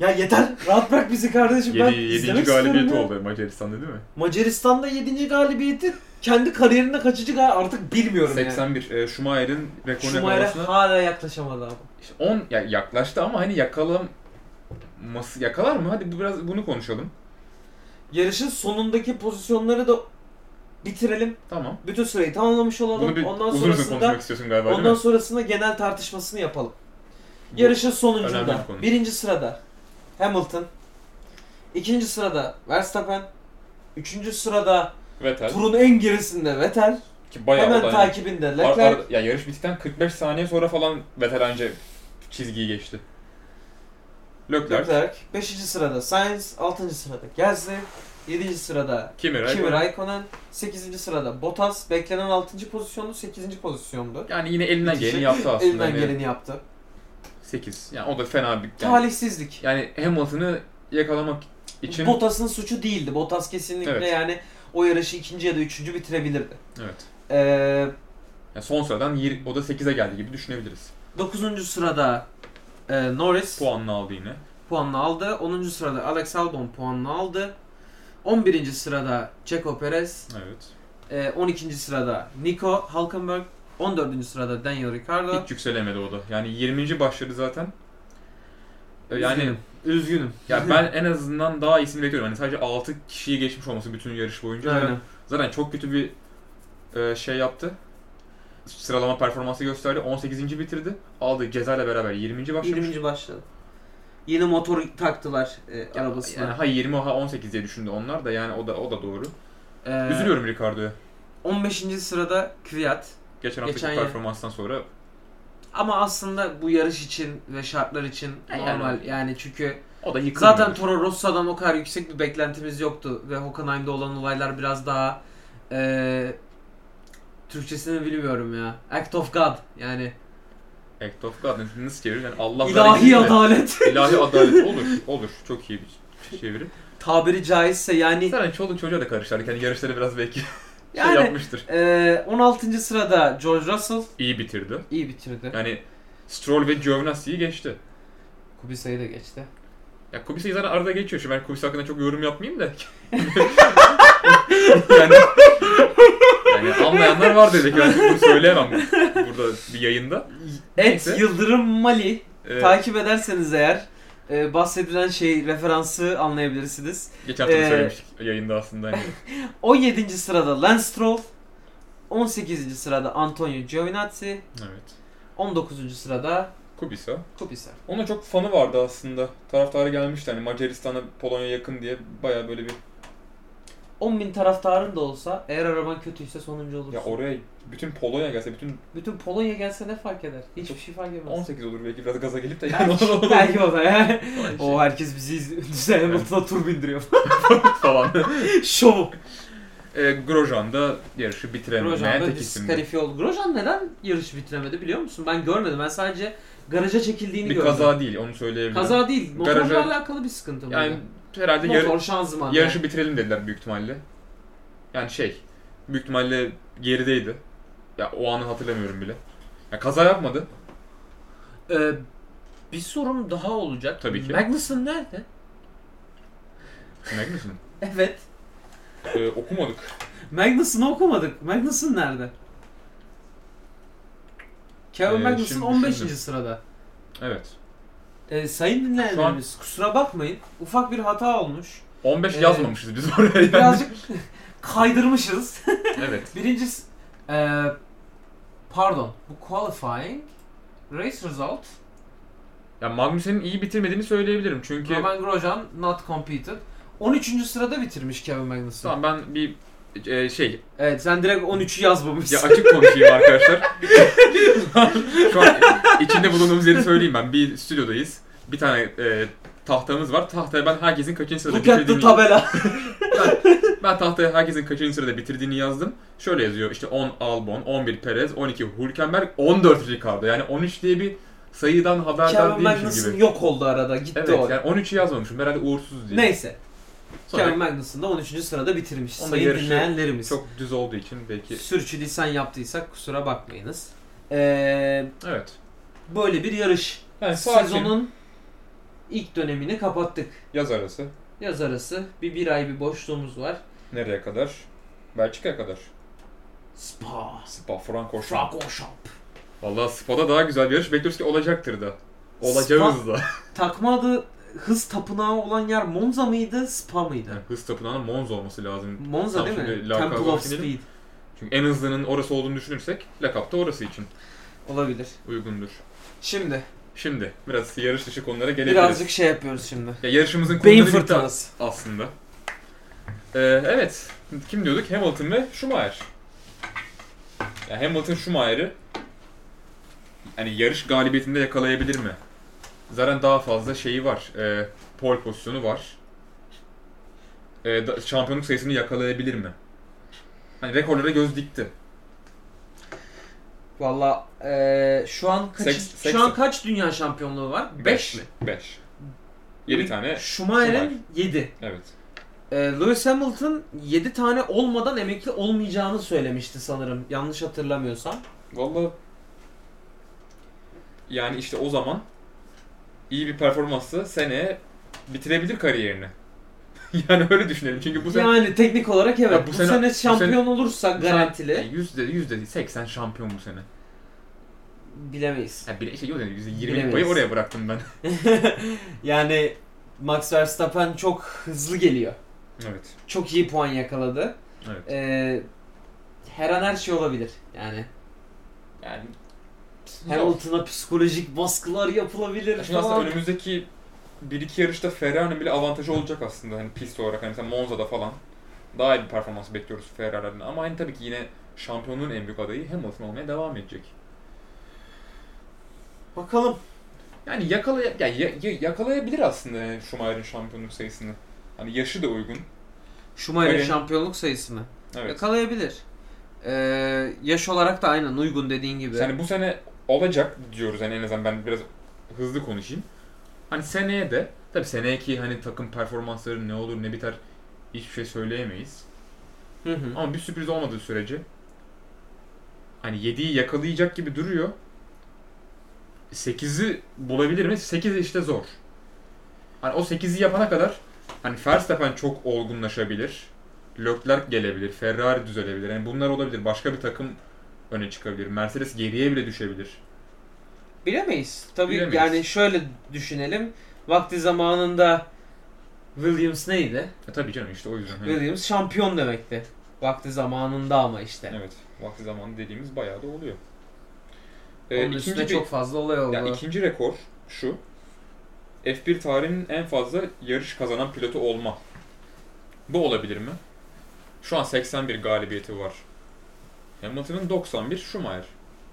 S2: Ya yeter rahat bırak bizi kardeşim ben
S1: 7.
S2: izlemek
S1: galibiyeti
S2: istiyorum ya.
S1: oldu Macaristan'da değil mi?
S2: Macaristan'da 7. galibiyeti kendi kariyerinde kaçıncı gal artık bilmiyorum
S1: 81. E, Schumacher'in
S2: yani.
S1: rekoruna
S2: Schumacher'e
S1: yakalamasına
S2: hala yaklaşamadı abi.
S1: İşte 10 ya yaklaştı ama hani yakalaması yakalar mı? Hadi bu biraz bunu konuşalım.
S2: Yarışın sonundaki pozisyonları da bitirelim.
S1: Tamam.
S2: Bütün süreyi tamamlamış olalım.
S1: Bunu bir
S2: Ondan
S1: uzun uzun
S2: sonrasında
S1: konuşmak istiyorsun galiba değil
S2: ondan
S1: mi?
S2: sonrasında genel tartışmasını yapalım.
S1: Bu-
S2: Yarışın
S1: önemli
S2: sonuncunda
S1: bir konu.
S2: birinci sırada Hamilton, ikinci sırada Verstappen, üçüncü sırada
S1: Vettel
S2: turun en gerisinde Vettel,
S1: ki bayağı
S2: hemen
S1: olay. Ar-
S2: takibinde
S1: ar-
S2: Leclerc.
S1: ya yarış bittikten 45 saniye sonra falan Vettel anca çizgiyi geçti. Leclerc,
S2: Leclerc. 5. sırada Sainz, 6. sırada Gasly, 7. sırada
S1: Kimi Raikkonen.
S2: Kimi Raikkonen, 8. sırada Bottas. Beklenen 6. pozisyondu, 8. pozisyondu.
S1: Yani yine elinden
S2: Bitişi.
S1: geleni yaptı aslında.
S2: Elinden
S1: Hani
S2: geleni yaptı.
S1: 8. Yani o da fena bir yani,
S2: Talihsizlik.
S1: yani Hamilton'ı yakalamak için
S2: Bottas'ın suçu değildi. Bottas kesinlikle
S1: Evet.
S2: yani o yarışı ikinci ya da üçüncü bitirebilirdi.
S1: evet.
S2: Ee,
S1: Yani son sıradan yir- o da 8'e geldi gibi düşünebiliriz.
S2: 9. sırada e, Norris
S1: Puanını aldı yine.
S2: puanını aldı. 10. sırada Alex Albon puanını aldı. 11. sırada Checo Perez.
S1: Evet.
S2: E, 12. sırada Nico Hulkenberg. 14. sırada Daniel Ricciardo.
S1: Hiç yükselemedi o da. Yani 20. başladı zaten. Ee, Yani
S2: Üzgünüm. Üzgünüm.
S1: ya ben en azından daha iyisini bekliyorum. Hani sadece 6 kişiyi geçmiş olması bütün yarış boyunca.
S2: Aynen.
S1: Zaten, zaten çok kötü bir e, şey yaptı. Sıralama performansı gösterdi. 18. bitirdi. Aldığı cezayla beraber 20. başlamış.
S2: 20. başladı. Yeni motor taktılar e,
S1: Ya,
S2: arabasına.
S1: Yani ha 20 ha 18 diye düşündü onlar da yani o da o da doğru.
S2: Ee,
S1: Üzülüyorum Ricardo'ya.
S2: 15. sırada Kvyat.
S1: Geçen haftaki
S2: geçen yıl-
S1: performanstan sonra
S2: Ama aslında bu yarış için ve şartlar için
S1: Ya, E, yani
S2: normal yani,
S1: o-
S2: çünkü
S1: o da yıkılmıyor.
S2: zaten Toro Rosso'dan o kadar yüksek bir beklentimiz yoktu ve Hockenheim'de olan olaylar biraz daha e, Türkçesini bilmiyorum ya. Act of God yani
S1: Act of God nasıl çevirir? Yani Allah
S2: ilahi adalet (laughs)
S1: İlahi adalet olur. Olur. Çok iyi bir çeviri.
S2: tabiri caizse yani
S1: Zaten çoluk çocuğa da karıştırdık. Hani yarışları biraz belki
S2: Yani-
S1: şey yapmıştır.
S2: e, 16. sırada George Russell
S1: İyi bitirdi.
S2: iyi bitirdi.
S1: Yani Stroll ve Giovinazzi'yi geçti.
S2: Kubica'yı da geçti.
S1: Ya Kubica'yı zaten arada geçiyor. Şimdi ben Kubica hakkında çok yorum yapmayayım da. (laughs) yani, yani anlayanlar var dedik. Yani bunu söyleyemem burada bir yayında.
S2: Et
S1: Neyse.
S2: Yıldırım Mali
S1: Ee,
S2: takip ederseniz eğer e, bahsedilen şey referansı anlayabilirsiniz.
S1: geçen hafta da
S2: ee,
S1: söylemiştik yayında aslında.
S2: (laughs)
S1: Hani.
S2: 17. sırada Lance Stroll, 18. sırada Antonio Giovinazzi,
S1: Evet.
S2: 19. sırada
S1: Kubica.
S2: Kubica.
S1: Ona çok fanı vardı aslında. Taraftarı gelmişti hani Macaristan'a Polonya'ya yakın diye baya böyle bir
S2: 10.000 taraftarın da olsa eğer araban kötüyse sonuncu olursun.
S1: ya oraya bütün Polonya gelse bütün
S2: Bütün Polonya gelse ne fark eder? Hiçbir şey fark etmez.
S1: 18 olur belki biraz gaza gelip de yani
S2: Belki,
S1: (laughs) olur.
S2: (laughs) belki o da
S1: (laughs)
S2: ya.
S1: Şey
S2: O herkes bizi (laughs) izliyor. Düşünsene Hamilton'a tur bindiriyor. (laughs)
S1: falan. (laughs)
S2: Şov.
S1: e, Grosjean da yarışı bitiremeyen
S2: Grosjean'da
S1: tek isimdi.
S2: diskalifiye oldu. Grosjean neden yarışı bitiremedi biliyor musun? Ben görmedim. Ben sadece garaja çekildiğini
S1: Bir
S2: gördüm.
S1: kaza değil onu söyleyebilirim.
S2: Kaza değil. Motorla
S1: Garaja-
S2: alakalı bir sıkıntı mıydı?
S1: yani herhalde yar-
S2: Motor, şanzıman.
S1: yarışı bitirelim dediler büyük ihtimalle. Yani şey büyük ihtimalle gerideydi. Ya o anı hatırlamıyorum bile. Ya kaza yapmadı.
S2: Ee, bir sorum daha olacak.
S1: Tabii ki.
S2: Magnussen nerede?
S1: Demek (laughs) misin?
S2: Evet.
S1: Ee, okumadık.
S2: Magnussen'ı okumadık. Magnussen nerede? Kevin
S1: Ee,
S2: Magnussen
S1: şimdi
S2: 15.
S1: düşündüm.
S2: sırada.
S1: Evet.
S2: Ee, sayın dinleyenlerimiz kusura bakmayın. Ufak bir
S1: (laughs)
S2: hata olmuş.
S1: 15
S2: Ee,
S1: yazmamışız biz oraya yani.
S2: Birazcık (laughs) kaydırmışız.
S1: Evet.
S2: Birinci... s- Ee, pardon. Bu qualifying. Race result.
S1: Ya Magnussen'in iyi bitirmediğini söyleyebilirim çünkü
S2: Roman Grosjean not competed. 13. sırada bitirmiş Kevin Magnussen.
S1: tamam ben bir e, şey
S2: Evet sen direkt 13'ü yazmamışsın.
S1: Ya açık konuşayım arkadaşlar. Şu an içinde bulunduğumuz yeri söyleyeyim ben. Bir stüdyodayız. Bir tane e, tahtamız var. Tahtaya ben herkesin kaçıncı sırada
S2: Look at the
S1: bitirdiğini...
S2: tabela.
S1: ben tahtaya herkesin kaçıncı sırada bitirdiğini yazdım. Şöyle yazıyor işte 10 Albon, 11 Perez, 12 Hülkenberg, 14 Ricardo. Yani 13 diye bir sayıdan haberdar
S2: Kevin
S1: değilmişim
S2: Magnussen
S1: gibi.
S2: yok oldu arada. Gitti
S1: Evet
S2: o.
S1: yani 13'ü yazmamışım herhalde uğursuz diye.
S2: Neyse.
S1: Sonra
S2: Kevin Magnussen da 13. sırada bitirmiş.
S1: Onda
S2: Sayın
S1: yarışı
S2: dinleyenlerimiz. Çok...
S1: çok düz olduğu için belki.
S2: Sürçülisan yaptıysak kusura bakmayınız. Ee,
S1: Evet.
S2: böyle bir yarış.
S1: Yani E, sakin
S2: Sezonun ilk dönemini kapattık.
S1: yaz arası
S2: Yaz arası bir bir ay bir boşluğumuz var.
S1: nereye kadar? Belçika'ya kadar.
S2: Spa.
S1: Spa, Francorchamps.
S2: Francorchamps.
S1: Valla Spa'da daha güzel bir yarış bekliyoruz ki olacaktır da. Olacağız da. (laughs)
S2: Takma adı hız tapınağı olan yer Monza mıydı, Spa mıydı?
S1: Yani hız tapınağının Monza olması lazım.
S2: Monza
S1: Tam
S2: değil mi?
S1: şimdi lakabı
S2: Temple of
S1: düşünelim.
S2: Speed.
S1: Çünkü en hızlının orası olduğunu düşünürsek lakap da orası için
S2: Olabilir.
S1: uygundur.
S2: Şimdi
S1: Şimdi biraz yarış dışı konulara gelebiliriz.
S2: birazcık şey yapıyoruz şimdi.
S1: Ya yarışımızın
S2: Beyin
S1: konuları bitti
S2: fırtınası.
S1: aslında. Ee, evet. Kim diyorduk? Hamilton ve Schumacher. Ya Hamilton Schumacher'ı yani yarış galibiyetinde yakalayabilir mi? Zaten daha fazla şeyi var. E, pole pozisyonu var. E, da- şampiyonluk sayısını yakalayabilir mi? Hani rekorlara göz dikti.
S2: Valla eee, şu an kaç
S1: Seks- seks-
S2: şu an kaç dünya şampiyonluğu var? 5 mi?
S1: 5. 7 tane. E, Schumacher.
S2: Schumacher'in 7.
S1: Evet.
S2: Lewis Hamilton 7 tane olmadan emekli olmayacağını söylemişti sanırım. Yanlış hatırlamıyorsam.
S1: Valla yani işte o zaman iyi bir performansla seneye bitirebilir kariyerini. (laughs) yani öyle düşünelim. Çünkü E, bu sene
S2: yani teknik olarak evet.
S1: Ya
S2: bu,
S1: bu
S2: sene,
S1: sene- bu sene-
S2: şampiyon olursak garantili
S1: Yani yüzde yüzde değil, 80 şampiyon bu sene.
S2: bilemeyiz.
S1: Yani bir şey yok yani yüzde 20
S2: Bilemeyiz.
S1: payı oraya bıraktım ben. (laughs)
S2: yani Max Verstappen çok hızlı geliyor.
S1: evet.
S2: Çok iyi puan yakaladı.
S1: Evet.
S2: E, Eee, her an her şey olabilir. Yani
S1: Yani
S2: Hamilton'a psikolojik baskılar yapılabilir
S1: Şimdi aslında
S2: falan.
S1: önümüzdeki bir iki yarışta Ferrari'nin bile avantajı olacak aslında hani pist olarak hani mesela Monza'da falan daha iyi bir performans bekliyoruz Ferrari'den ama hani tabii ki yine şampiyonluğun en büyük adayı Hamilton olmaya devam edecek.
S2: Bakalım.
S1: Yani yakalay ya- ya- ya- yakalayabilir aslında yani Schumacher'in şampiyonluk sayısını. Hani yaşı da uygun.
S2: Schumacher'in
S1: Öyle.
S2: şampiyonluk sayısını
S1: Evet.
S2: yakalayabilir. Eee, yaş olarak da aynen uygun dediğin gibi.
S1: Yani bu sene olacak diyoruz yani en azından ben biraz hızlı konuşayım. Hani seneye de tabii seneki hani takım performansları ne olur ne biter hiçbir şey söyleyemeyiz.
S2: Hı hı.
S1: Ama bir sürpriz olmadığı sürece hani 7'yi yakalayacak gibi duruyor. 8'i bulabilir mi? 8 işte zor. Hani o 8'i yapana kadar hani Verstappen çok olgunlaşabilir. Leclerc gelebilir, Ferrari düzelebilir. Yani bunlar olabilir. Başka bir takım öne çıkabilir. Mercedes geriye bile düşebilir.
S2: Bilemeyiz. Tabii
S1: Bilemeyiz.
S2: yani şöyle düşünelim. Vakti zamanında Williams neydi?
S1: E tabii canım işte o yüzden. hani-
S2: Williams şampiyon demekti. Vakti zamanında ama işte.
S1: Evet. Vakti zamanı dediğimiz bayağı da oluyor. E,
S2: Onun
S1: Ee, ikinci
S2: üstüne
S1: bir-
S2: çok fazla olay oldu.
S1: Ya ikinci rekor şu. F1 tarihinin en fazla yarış kazanan pilotu olma. Bu olabilir mi? Şu an 81 galibiyeti var. Hamilton'ın 91 Schumacher.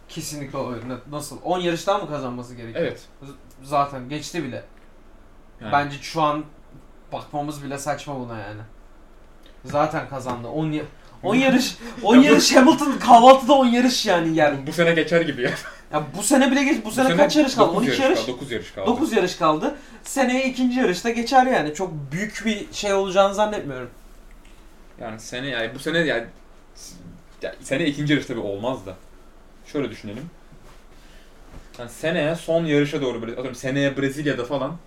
S2: Kesinlikle öyle. Nasıl? 10 yarıştan mı kazanması gerekiyor?
S1: Evet.
S2: Z- Zaten geçti bile.
S1: Yani
S2: Bence şu an bakmamız bile saçma buna yani. Zaten kazandı. 10 ya-
S1: (laughs)
S2: 10 yarış 10
S1: Ya bu-
S2: yarış Hamilton kahvaltıda 10 yarış yani yer.
S1: bu, bu sene geçer gibi ya.
S2: Ya bu sene bile geç. Bu, sene, kaç yarış kaldı? 12 yarış.
S1: 9 yarış kaldı.
S2: 9 yarış kaldı. Seneye ikinci yarışta geçer yani. Çok büyük bir şey olacağını zannetmiyorum.
S1: Yani sene yani bu sene yani, ya sene ikinci yarış tabii olmaz da. Şöyle düşünelim. Yani seneye son yarışa doğru böyle atıyorum seneye Brezilya'da falan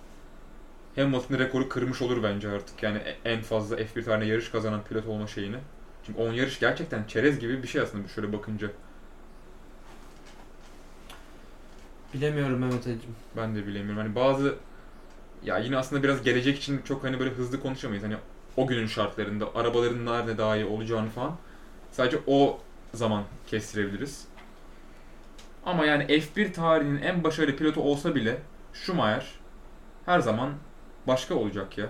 S1: Hamilton'ın rekoru kırmış olur bence artık. Yani e- en fazla F1 tane yarış kazanan pilot olma şeyini. Çünkü 10 yarış gerçekten çerez gibi bir şey aslında şöyle bakınca.
S2: Bilemiyorum Mehmet Ali'cim.
S1: Ben de bilemiyorum. Hani bazı ya yine aslında biraz gelecek için çok hani böyle hızlı konuşamayız. Hani o günün şartlarında arabaların nerede daha iyi olacağını falan. Sadece o zaman kestirebiliriz. Ama yani F1 tarihinin en başarılı pilotu olsa bile Schumacher her zaman başka olacak ya.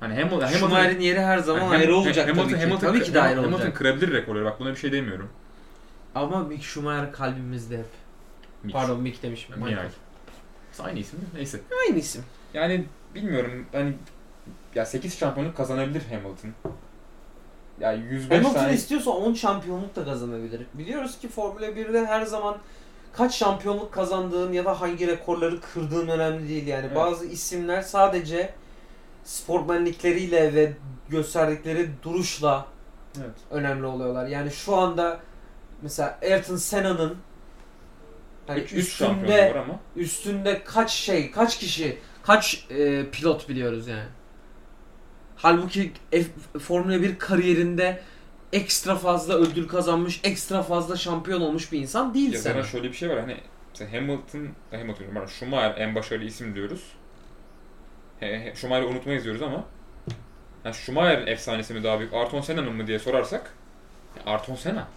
S1: Hani Hamil- Hamilton Hani
S2: Schumacher'in yeri her zaman
S1: Ham-
S2: ayrı
S1: Ham-
S2: olacak
S1: Hamilton-
S2: tabii ki.
S1: Hamilton-
S2: tabii ki de ayrı
S1: Hamilton
S2: olacak.
S1: kırabilir rekorları. Bak buna bir şey demiyorum.
S2: Ama Mick Schumacher kalbimizde hep.
S1: Mitch.
S2: Pardon Mick demişim.
S1: Michael. Aynı isim değil mi? Neyse.
S2: Aynı isim.
S1: Yani bilmiyorum hani ya 8 şampiyonluk kazanabilir Hamilton. Ya 105
S2: Hamilton
S1: tane
S2: istiyorsa 10 şampiyonluk da kazanabilir. Biliyoruz ki Formula 1'de her zaman kaç şampiyonluk kazandığın ya da hangi rekorları kırdığın önemli değil yani.
S1: Evet.
S2: Bazı isimler sadece sportmenlikleriyle ve gösterdikleri duruşla
S1: Evet.
S2: önemli oluyorlar. Yani şu anda mesela Ayrton Senna'nın yani
S1: E, Üç, üç şampiyonluğu
S2: üstünde
S1: var ama.
S2: üstünde kaç şey, kaç kişi, kaç e, pilot biliyoruz yani. Halbuki F- Formula 1 kariyerinde ekstra fazla ödül kazanmış, ekstra fazla şampiyon olmuş bir insan değil
S1: Ya
S2: sen.
S1: zaten şöyle bir şey var hani mesela Hamilton, ha, Hamilton diyorum, pardon, Schumacher en başarılı isim diyoruz. He, he, Schumacher'i unutmayız diyoruz ama ha, Schumacher efsanesi mi daha büyük, Ayrton Senna'nın mı diye sorarsak ya Ayrton Senna.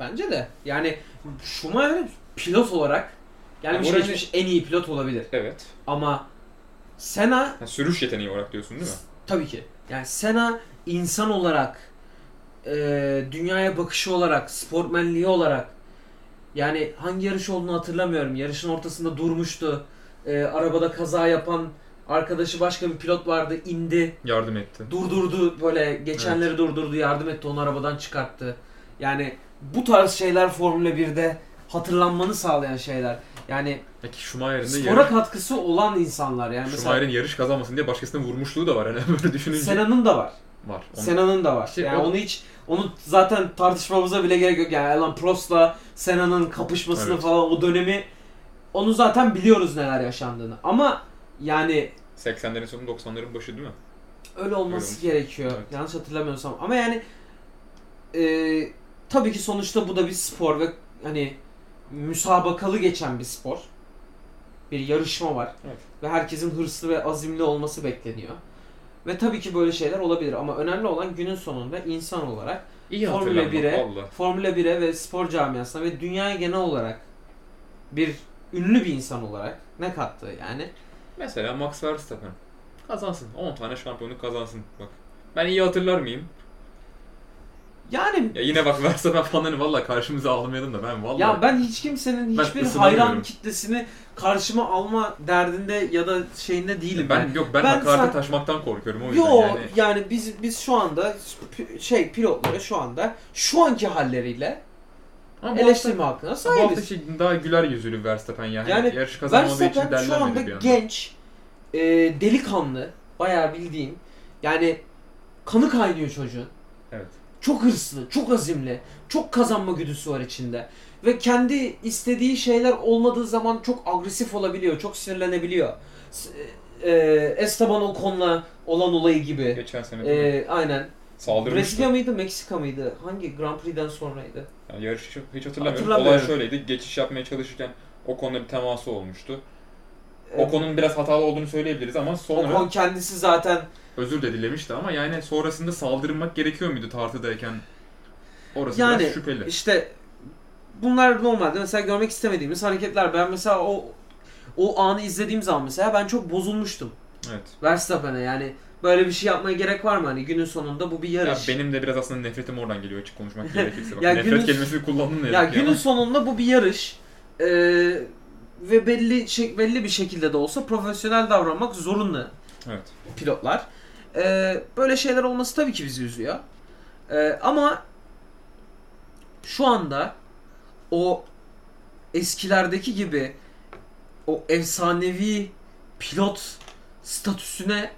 S2: Bence de. Yani Schumacher pilot olarak gelmiş
S1: Orası-
S2: geçmiş en iyi pilot olabilir.
S1: Evet.
S2: Ama Senna
S1: Ha, sürüş yeteneği olarak diyorsun değil mi?
S2: Tabii ki. Yani Sena insan olarak, e, dünyaya bakışı olarak, sportmenliği olarak yani hangi yarış olduğunu hatırlamıyorum. Yarışın ortasında durmuştu. E, arabada kaza yapan arkadaşı başka bir pilot vardı indi.
S1: Yardım etti.
S2: Durdurdu böyle geçenleri durdurdu yardım etti onu arabadan çıkarttı. Yani bu tarz şeyler Formula 1'de hatırlanmanı sağlayan şeyler. Yani
S1: Peki Schumacher'in de
S2: spora
S1: yarış,
S2: katkısı olan insanlar yani mesela
S1: Schumacher'in yarış kazanmasın diye başkasının vurmuşluğu da var hani (laughs) böyle düşününce.
S2: Sena'nın da var.
S1: var. Onun-
S2: Sena'nın da var.
S1: İşte
S2: yani
S1: Şey, o-
S2: onu hiç onu zaten tartışmamıza bile gerek yok. Yani Alan Prost'la Sena'nın kapışmasını
S1: Evet.
S2: falan o dönemi onu zaten biliyoruz neler yaşandığını. Ama yani
S1: 80'lerin sonu 90'ların başı değil mi?
S2: öyle olması gerekiyor.
S1: Evet.
S2: Yanlış hatırlamıyorsam. Ama yani e, tabii ki sonuçta bu da bir spor ve hani müsabakalı geçen bir spor. Bir yarışma var.
S1: Evet.
S2: Ve herkesin hırslı ve azimli olması bekleniyor. Ve tabii ki böyle şeyler olabilir ama önemli olan günün sonunda insan olarak
S1: İyi
S2: Formula
S1: hatırlanmak
S2: 1'e
S1: valla.
S2: Formula 1'e ve spor camiasına ve dünyaya genel olarak bir ünlü bir insan olarak ne kattı yani?
S1: Mesela Max Verstappen. Kazansın. 10 tane şampiyonluk kazansın. Bak. Ben iyi hatırlar mıyım?
S2: Yani
S1: Ya yine bak (laughs) Verstappen fanlarını valla karşımıza almayalım da ben valla.
S2: ya ben hiç kimsenin
S1: Ben
S2: hiçbir
S1: ısınamıyorum.
S2: hayran kitlesini karşıma alma derdinde ya da şeyinde değilim
S1: ben,
S2: ben.
S1: yok ben,
S2: Ben
S1: hakarete
S2: sen-
S1: taşmaktan korkuyorum o yüzden
S2: Yo yani.
S1: yani.
S2: biz biz şu anda p- şey pilotları şu anda şu anki halleriyle
S1: Ama bu hafta,
S2: eleştirme hakkına
S1: bu hafta
S2: sahibiz.
S1: şey daha güler yüzlü Verstappen yani.
S2: Yani
S1: yarışı kazanmadığı için
S2: Verstappen şu anda
S1: derlenmedi bir anda.
S2: genç, e, delikanlı, bayağı bildiğin yani kanı kaynıyor çocuğun.
S1: Evet.
S2: Çok hırslı, çok azimli, çok kazanma güdüsü var içinde. Ve kendi istediği şeyler olmadığı zaman çok agresif olabiliyor, çok sinirlenebiliyor. S- e, Esteban Ocon'la olan olayı gibi.
S1: Geçen sene de
S2: E, aynen.
S1: saldırmıştı.
S2: Brezilya mıydı, Meksika mıydı? Hangi Grand Prix'den sonraydı?
S1: Yani yarışı çok- hiç hatırlamıyorum. Olay
S2: Hatırlamıyorum.
S1: şöyleydi. Geçiş yapmaya çalışırken o konuda bir teması olmuştu.
S2: E,
S1: O konunun biraz hatalı olduğunu söyleyebiliriz ama sonra
S2: Ocon kendisi zaten
S1: özür de dilemişti ama yani sonrasında saldırmak gerekiyor muydu tartıdayken? Orası
S2: Yani,
S1: biraz şüpheli.
S2: İşte bunlar normalde mesela görmek istemediğimiz hareketler. Ben mesela o o anı izlediğim zaman mesela ben çok bozulmuştum.
S1: Evet.
S2: Verstappen'e yani böyle bir şey yapmaya gerek var mı? Hani günün sonunda bu bir
S1: Ya
S2: yarış. Ya,
S1: benim de biraz aslında nefretim oradan geliyor açık
S2: (laughs)
S1: konuşmak gerekirse. Bak,
S2: Ya
S1: nefret
S2: günün-
S1: kelimesini kullandın ne yazık ki
S2: günün
S1: ama.
S2: sonunda bu bir yarış. Ee, ve belli şey, belli bir şekilde de olsa profesyonel davranmak zorunlu
S1: Evet.
S2: pilotlar. Ee, böyle şeyler olması tabii ki bizi üzüyor. Ee, ama şu anda o eskilerdeki gibi o efsanevi pilot statüsüne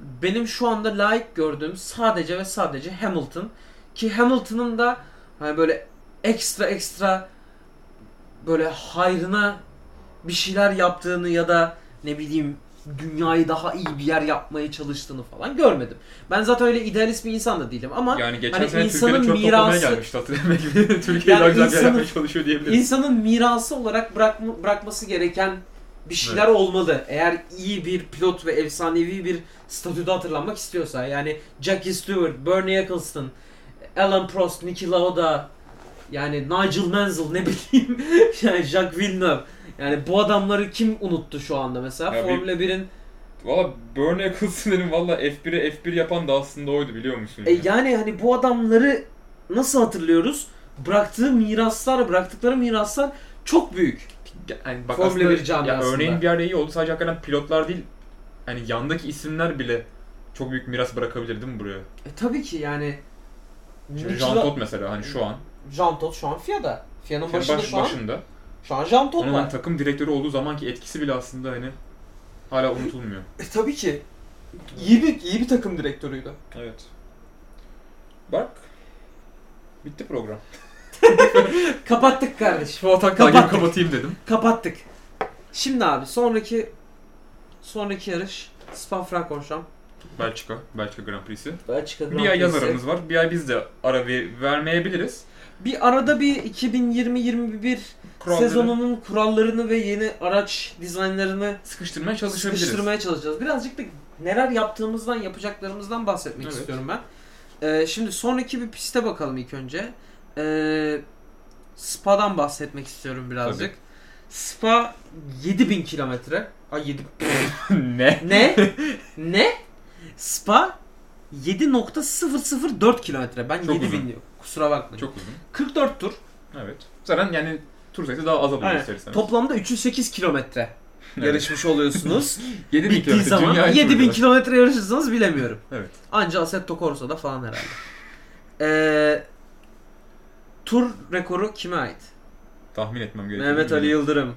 S2: benim şu anda layık gördüğüm sadece ve sadece Hamilton ki Hamilton'ın da hani böyle ekstra ekstra böyle hayrına bir şeyler yaptığını ya da ne bileyim dünyayı daha iyi bir yer yapmaya çalıştığını falan görmedim. Ben zaten öyle idealist bir insan da değilim ama
S1: Yani geçen
S2: hani
S1: sene
S2: insanın
S1: Türkiye'de çöp toplamaya
S2: mirası-
S1: gelmişti hatırlamak (laughs)
S2: (laughs)
S1: gibi. Türkiye daha güzel bir yer
S2: insanın-
S1: yapmaya çalışıyor diyebiliriz.
S2: İnsanın mirası olarak bırakma- bırakması gereken bir şeyler olmalı. Eğer iyi bir pilot ve efsanevi bir statüde hatırlanmak istiyorsa. Yani Jackie Stewart, Bernie Eccleston, Alan Prost, Niki Lauda, yani Nigel Mansell ne (laughs) bileyim yani Jacques Villeneuve. Yani bu adamları kim unuttu şu anda mesela?
S1: Ya bir-
S2: Formula 1'in
S1: Valla Bernie Eccleston dedim valla F1'e F1 yapan da aslında oydu biliyor musun?
S2: E yani hani bu adamları nasıl hatırlıyoruz? Bıraktığı miraslar, bıraktıkları miraslar çok büyük.
S1: yani bak
S2: Formula
S1: aslında,
S2: bir camiasında.
S1: ya örneğin bir yerde iyi oldu sadece hakikaten pilotlar değil yani yandaki isimler bile çok büyük miras bırakabilir değil mi buraya?
S2: E tabii ki yani
S1: Şimdi
S2: Nikola-
S1: Jean Todt mesela hani şu an
S2: Jean Todt şu an FIA'da.
S1: baş,
S2: FIA'nın başında şu an.
S1: başında
S2: Şu an Jean Todt
S1: Onun
S2: var.
S1: takım direktörü olduğu zamanki etkisi bile aslında hani hala unutulmuyor.
S2: E, tabii ki. İyi bir, iyi bir takım direktörüydü.
S1: Evet. Bak. Bitti program.
S2: Kapattık kardeşim.
S1: Şu atak takip kapatayım dedim.
S2: Kapattık. Şimdi abi sonraki sonraki yarış Spa-Francorchamps.
S1: Belçika. Belçika Grand Prix'si.
S2: Belçika Grand
S1: Bir ay yaz
S2: Prix'si.
S1: aramız var. Bir ay biz de ara ver- vermeyebiliriz.
S2: Bir arada bir 2020-2021
S1: Kuralları
S2: sezonunun kurallarını ve yeni araç dizaynlarını
S1: sıkıştırmaya çalışabiliriz.
S2: sıkıştırmaya çalışacağız. Birazcık da neler yaptığımızdan, yapacaklarımızdan bahsetmek
S1: Evet.
S2: istiyorum ben. Ee, şimdi sonraki bir piste bakalım ilk önce. Ee, Spa'dan bahsetmek istiyorum birazcık.
S1: Tabii.
S2: Spa 7000 kilometre.
S1: (laughs)
S2: Ay 7
S1: (laughs) ne?
S2: ne? ne? Spa 7.004 kilometre. Ben
S1: Çok
S2: 7000
S1: uzun.
S2: diyorum. Kusura bakmayın.
S1: Çok uzun.
S2: 44 tur.
S1: Evet. Zaten yani tur sayısı daha az alıyor
S2: Aynen.
S1: isterseniz.
S2: Toplamda 308 kilometre
S1: Evet.
S2: yarışmış
S1: (laughs)
S2: oluyorsunuz.
S1: 7000
S2: Bittiği
S1: kilometre,
S2: zaman
S1: dünyayı
S2: 7000
S1: turluyorlar.
S2: kilometre yarışırsanız bilemiyorum.
S1: Evet.
S2: Anca Assetto Corsa'da falan herhalde. Ee, tur rekoru kime ait?
S1: Tahmin etmem gerekiyor.
S2: Mehmet Ali Yıldırım.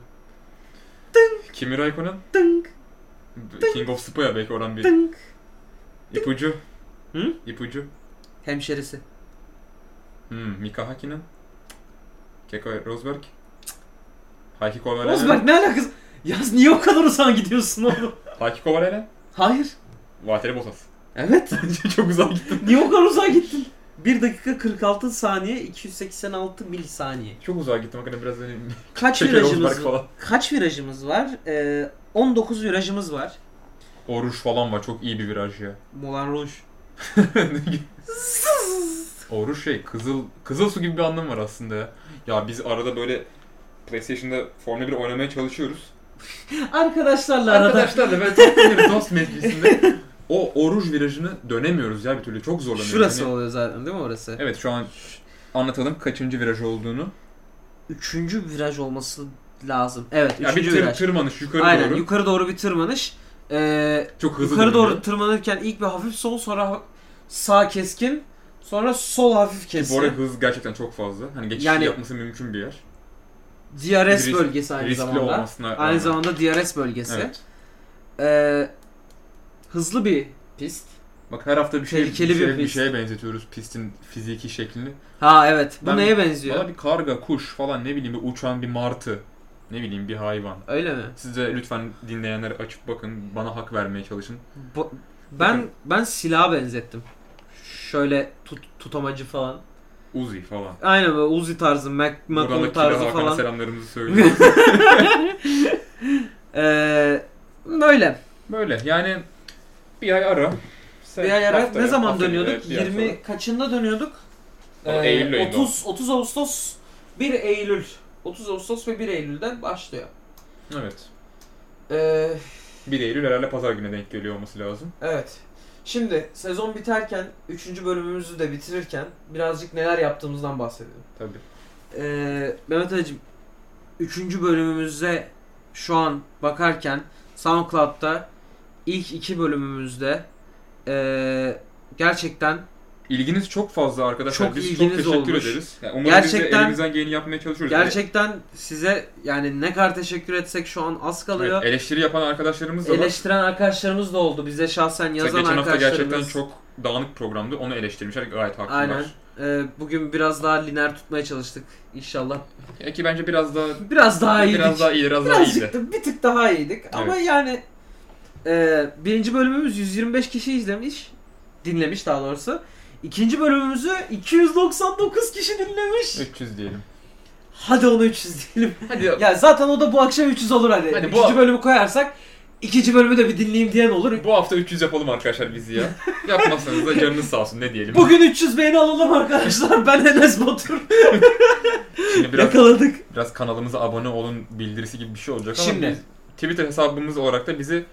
S1: Kimi Raikkonen?
S2: Dınk
S1: King of Spa'ya belki oran bir
S2: dınk.
S1: ipucu.
S2: Hı?
S1: İpucu.
S2: Hemşerisi.
S1: Hmm, Mika Hakkinen. Keko Rosberg. Heikki
S2: Rosberg
S1: Kovalainen.
S2: ne alakası? Yaz niye o kadar uzağa gidiyorsun oğlum?
S1: Heikki Kovalainen.
S2: Hayır.
S1: Valtteri
S2: (laughs)
S1: Bottas.
S2: Evet.
S1: Çok uzağa gittim.
S2: Niye o kadar uzağa gittin? 1 dakika 46 saniye 286 milisaniye.
S1: Çok uzağa gittim. Hakikaten biraz hani
S2: Kaç
S1: Çeker Rosberg
S2: virajımız
S1: falan.
S2: Kaç virajımız var? Ee, 19 virajımız var.
S1: O ruj falan var. Çok iyi bir viraj ya.
S2: Moulin Rouge. (laughs)
S1: o ruj şey kızıl kızıl su gibi bir anlamı var aslında ya. Ya biz arada böyle PlayStation'da Formula 1 oynamaya çalışıyoruz.
S2: Arkadaşlarla arada
S1: Arkadaşlarla böyle tatlı dost meclisinde o oruç virajını dönemiyoruz ya bir türlü. Çok zorlanıyoruz.
S2: Şurası
S1: Hani-
S2: oluyor zaten değil mi orası?
S1: Evet şu an anlatalım kaçıncı viraj olduğunu.
S2: Üçüncü viraj olması lazım. Evet
S1: Ya bir
S2: üçüncü
S1: tır-
S2: viraj.
S1: tırmanış yukarı
S2: Aynen
S1: doğru.
S2: yukarı doğru bir tırmanış. Ee,
S1: çok hızlı
S2: yukarı doğru
S1: dönüyor.
S2: tırmanırken ilk bir hafif sol sonra ha- sağ keskin sonra sol hafif
S1: Ki Bu arada
S2: keskin.
S1: hız gerçekten çok fazla. Hani geçiş
S2: Yani-
S1: yapması mümkün bir yer.
S2: DRS
S1: risk-
S2: bölgesi aynı
S1: Riskli
S2: zamanda.
S1: olmasına rağmen.
S2: Aynı zamanda DRS bölgesi.
S1: Evet.
S2: Ee, hızlı bir pist.
S1: Bak her hafta bir şey, bir,
S2: Tehlikeli bir
S1: şey, bir
S2: pist.
S1: şeye benzetiyoruz pistin fiziki şeklini.
S2: Ha evet. Bu
S1: Ben-
S2: neye benziyor?
S1: Valla bir karga, kuş falan ne bileyim bir uçan bir martı. Ne bileyim bir hayvan.
S2: Öyle mi?
S1: Siz de lütfen dinleyenler açıp bakın. Bana hak vermeye çalışın.
S2: Bu- ben ben silaha benzettim. Şöyle tut, tutamacı falan.
S1: Uzi falan.
S2: Aynen böyle Uzi tarzı, Mac
S1: Buradan da
S2: McCool
S1: Kira
S2: tarzı
S1: Hakan'a
S2: falan.
S1: selamlarımızı
S2: (laughs)
S1: söylüyoruz.
S2: Ee, böyle.
S1: Böyle yani bir ay ara. Sen
S2: Bir ay ara-
S1: haftaya-
S2: ne zaman
S1: haftaya,
S2: dönüyorduk?
S1: evet, bir ay
S2: 20
S1: sonra.
S2: kaçında dönüyorduk?
S1: Valla Eylül ayında
S2: 30 30 Ağustos 1 Eylül. 30 Ağustos ve 1 Eylül'den başlıyor.
S1: Evet.
S2: Ee,
S1: 1 Eylül herhalde pazar gününe denk geliyor olması lazım.
S2: evet. Şimdi sezon biterken 3. bölümümüzü de bitirirken birazcık neler yaptığımızdan bahsedelim.
S1: Tabii.
S2: Ee, Mehmet Ali'cim 3. bölümümüze şu an bakarken SoundCloud'da ilk iki bölümümüzde ee, gerçekten
S1: İlginiz çok fazla arkadaşlar.
S2: Çok
S1: Biz
S2: ilginiz
S1: çok teşekkür
S2: olmuş.
S1: ederiz. Yani umarım biz de
S2: Gerçekten-
S1: elimizden geleni yapmaya çalışıyoruz.
S2: gerçekten size yani ne kadar teşekkür etsek şu an az
S1: Evet,
S2: kalıyor.
S1: eleştiri yapan arkadaşlarımız da var.
S2: Eleştiren arkadaşlarımız da oldu. Bize şahsen
S1: Mesela
S2: yazan
S1: geçen hafta
S2: arkadaşlarımız.
S1: gerçekten çok dağınık programdı. Onu eleştirmişler. Gayet haklılar.
S2: Aynen. Ee, bugün biraz daha lineer tutmaya çalıştık inşallah.
S1: Ya ki bence biraz daha
S2: Biraz daha iyiydik.
S1: biraz daha iyi, biraz daha
S2: Birazcık
S1: iyiydi.
S2: da bir tık daha iyiydik. Ama yani e, birinci bölümümüz 125 kişi izlemiş. Dinlemiş daha doğrusu. İkinci bölümümüzü 299 kişi dinlemiş.
S1: 300 diyelim.
S2: Hadi onu 300 diyelim. (laughs)
S1: Hadi
S2: ya zaten o da bu akşam 300 olur hadi.
S1: Hadi bu-
S2: İkinci bölümü koyarsak ikinci bölümü de bir dinleyeyim diyen olur.
S1: bu hafta 300 yapalım arkadaşlar bizi
S2: (laughs)
S1: ya. Yapmazsanız da canınız sağ olsun ne diyelim.
S2: Bugün 300 beğeni alalım arkadaşlar. Ben Enes Batur.
S1: Şimdi biraz
S2: Yakaladık.
S1: biraz kanalımıza abone olun bildirisi gibi bir şey olacak ama
S2: Şimdi.
S1: biz Twitter hesabımız olarak da bizi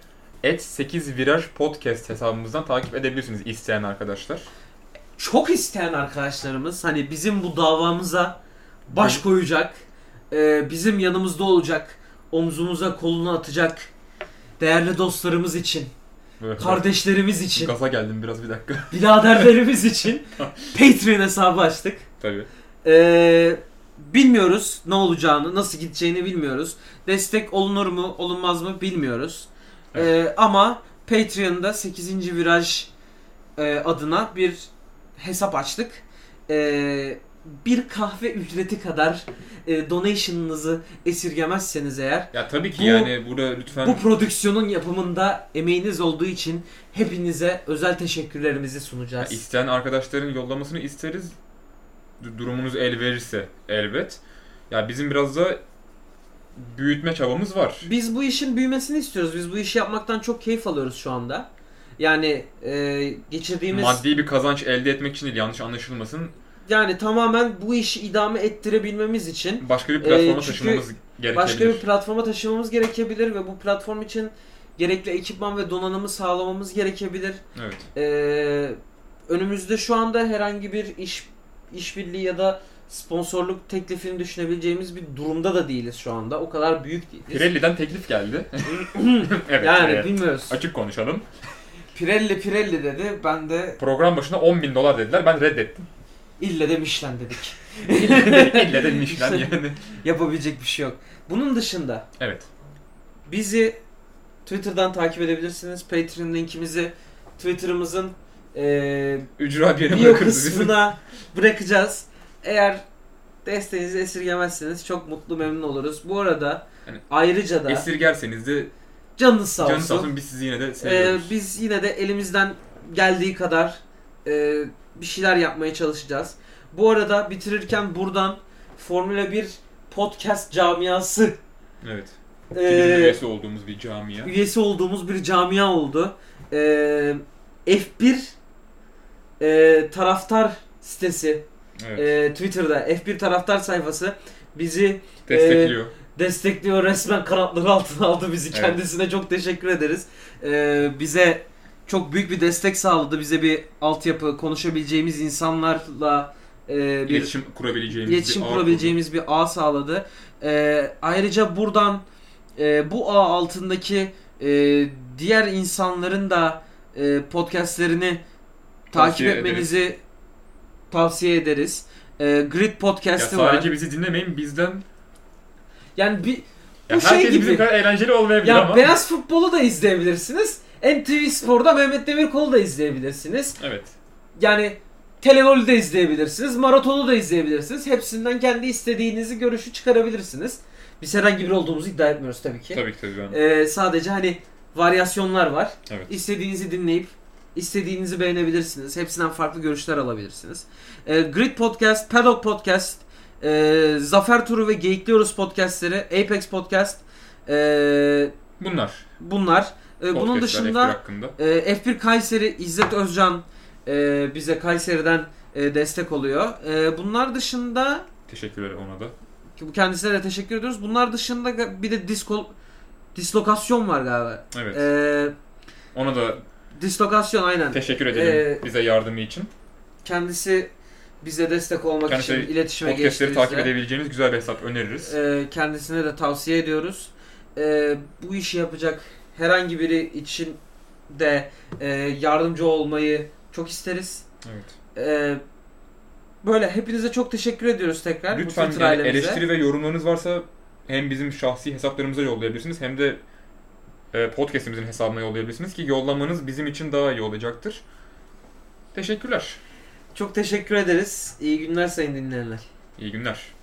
S1: et 8 viraj podcast hesabımızdan takip edebilirsiniz isteyen arkadaşlar.
S2: çok isteyen arkadaşlarımız hani bizim bu davamıza baş
S1: Hı.
S2: koyacak, e, bizim yanımızda olacak, omzumuza kolunu atacak değerli dostlarımız için,
S1: Böyle
S2: kardeşlerimiz için,
S1: Gaza geldim biraz bir dakika. (laughs)
S2: biraderlerimiz için Patreon hesabı açtık.
S1: Tabii.
S2: E, bilmiyoruz ne olacağını, nasıl gideceğini bilmiyoruz. Destek olunur mu, olunmaz mı bilmiyoruz. Ee, ama Patreon'da 8. Viraj e, adına bir hesap açtık. Ee, bir kahve ücreti kadar e, donation'ınızı esirgemezseniz eğer
S1: Ya tabii ki
S2: Bu-
S1: yani burada lütfen
S2: bu prodüksiyonun yapımında emeğiniz olduğu için hepinize özel teşekkürlerimizi
S1: Ya
S2: sunacağız.
S1: isteyen arkadaşların yollamasını isteriz. Du- Durumunuz el verirse elbet. Ya bizim biraz da büyütme çabamız var.
S2: Biz bu işin büyümesini istiyoruz. Biz bu işi yapmaktan çok keyif alıyoruz şu anda. Yani e, geçirdiğimiz
S1: Maddi bir kazanç elde etmek için değil yanlış anlaşılmasın.
S2: yani tamamen bu işi idame ettirebilmemiz için
S1: Başka bir
S2: Ee,
S1: platforma
S2: çünkü
S1: taşımamız gerekebilir.
S2: başka bir platforma taşımamız gerekebilir ve bu platform için gerekli ekipman ve donanımı sağlamamız gerekebilir.
S1: Evet.
S2: Ee, önümüzde şu anda herhangi bir iş işbirliği ya da sponsorluk teklifini düşünebileceğimiz bir durumda da değiliz şu anda. O kadar büyük değiliz.
S1: Pirelli'den teklif
S2: (laughs)
S1: geldi. (laughs) evet.
S2: yani
S1: evet.
S2: bilmiyoruz.
S1: Açık konuşalım.
S2: Pirelli Pirelli dedi. Ben de
S1: Program başına 10.000 dolar dediler. Ben
S2: (laughs)
S1: reddettim.
S2: ille de Michelin dedik.
S1: (laughs)
S2: (laughs)
S1: İlle de Michelin yani.
S2: Yapabilecek bir şey yok. Bunun dışında
S1: Evet.
S2: bizi Twitter'dan takip edebilirsiniz. Patreon linkimizi Twitter'ımızın eee
S1: Ücra bir yere
S2: bio
S1: bırakırız.
S2: kısmına bırakacağız. Eğer desteğinizi esirgemezseniz çok mutlu memnun oluruz. Bu arada
S1: Yani
S2: ayrıca da
S1: Esirgerseniz de
S2: canınız sağ olsun.
S1: Hani canınız sağ olsun biz sizi yine de
S2: Ee,
S1: seviyoruz.
S2: biz yine de elimizden geldiği kadar e, bir şeyler yapmaya çalışacağız. Bu arada bitirirken buradan Formula 1 podcast camiası
S1: evet.
S2: e,
S1: Filmin üyesi olduğumuz bir camia.
S2: üyesi olduğumuz bir camia oldu. Ee, F1 e, taraftar sitesi
S1: Evet.
S2: e, Twitter'da F1 taraftar sayfası bizi
S1: destekliyor.
S2: destekliyor resmen kanatları altına aldı bizi.
S1: Evet.
S2: Kendisine çok teşekkür ederiz. Ee, bize çok büyük bir destek sağladı. Bize bir altyapı, konuşabileceğimiz insanlarla e, bir
S1: iletişim kurabileceğimiz
S2: iletişim
S1: bir ağ
S2: kurabileceğimiz bir ağ sağladı. Ee, ayrıca buradan e, bu ağ altındaki e, diğer insanların da e, podcastlerini takip
S1: Tavsiye
S2: etmenizi tavsiye ederiz. Ee, Grid
S1: kurdu. Ya
S2: podcast'i var.
S1: sadece bizi dinlemeyin bizden.
S2: Yani bir
S1: Ya
S2: Bu şey
S1: herkes
S2: gibi.
S1: bizim kadar eğlenceli olmayabilir
S2: Ya
S1: ama.
S2: beyaz futbolu da izleyebilirsiniz. NTV Spor'da Mehmet Demirkol'u da izleyebilirsiniz.
S1: Evet.
S2: Yani Telenol'u da izleyebilirsiniz. Maraton'u da izleyebilirsiniz. Hepsinden kendi istediğinizi görüşü çıkarabilirsiniz. Biz herhangi biri olduğumuzu iddia etmiyoruz tabii ki.
S1: Tabii ki tabii. ben-
S2: Ee, sadece hani varyasyonlar var.
S1: Evet.
S2: İstediğinizi dinleyip istediğinizi beğenebilirsiniz. Hepsinden farklı görüşler alabilirsiniz. Ee, Grid Podcast, Paddock Podcast, e, Zafer Turu ve Geyikliyoruz podcastleri, Apex Podcast, e,
S1: Bunlar.
S2: Bunlar. Ee, bunun
S1: podcastler F1
S2: dışında
S1: hakkında.
S2: e, F1 Kayseri İzzet Özcan e, bize Kayseri'den e, destek oluyor. E, bunlar dışında
S1: Teşekkürler ona da.
S2: ki bu kendisine de teşekkür ediyoruz. Bunlar dışında ga- bir de disko, dislokasyon var galiba.
S1: Evet.
S2: E,
S1: ona da
S2: dislokasyon aynen.
S1: teşekkür edelim
S2: Ee,
S1: bize yardımı için.
S2: Kendisi bize destek olmak
S1: Kendisi
S2: için iletişime
S1: Podcastleri
S2: geçti.
S1: takip
S2: bizle.
S1: edebileceğiniz güzel bir hesap öneririz.
S2: E, kendisine de tavsiye ediyoruz. E, bu işi yapacak herhangi biri için de e, yardımcı olmayı çok isteriz.
S1: evet.
S2: E, böyle hepinize çok teşekkür ediyoruz tekrar. bu
S1: Lütfen
S2: Twitter
S1: yani
S2: ailemize.
S1: eleştiri ve yorumlarınız varsa hem bizim şahsi hesaplarımıza yollayabilirsiniz hem de e, podcastimizin hesabına yollayabilirsiniz ki yollamanız bizim için daha iyi olacaktır. Teşekkürler.
S2: Çok teşekkür ederiz. İyi günler sayın dinleyenler.
S1: İyi günler.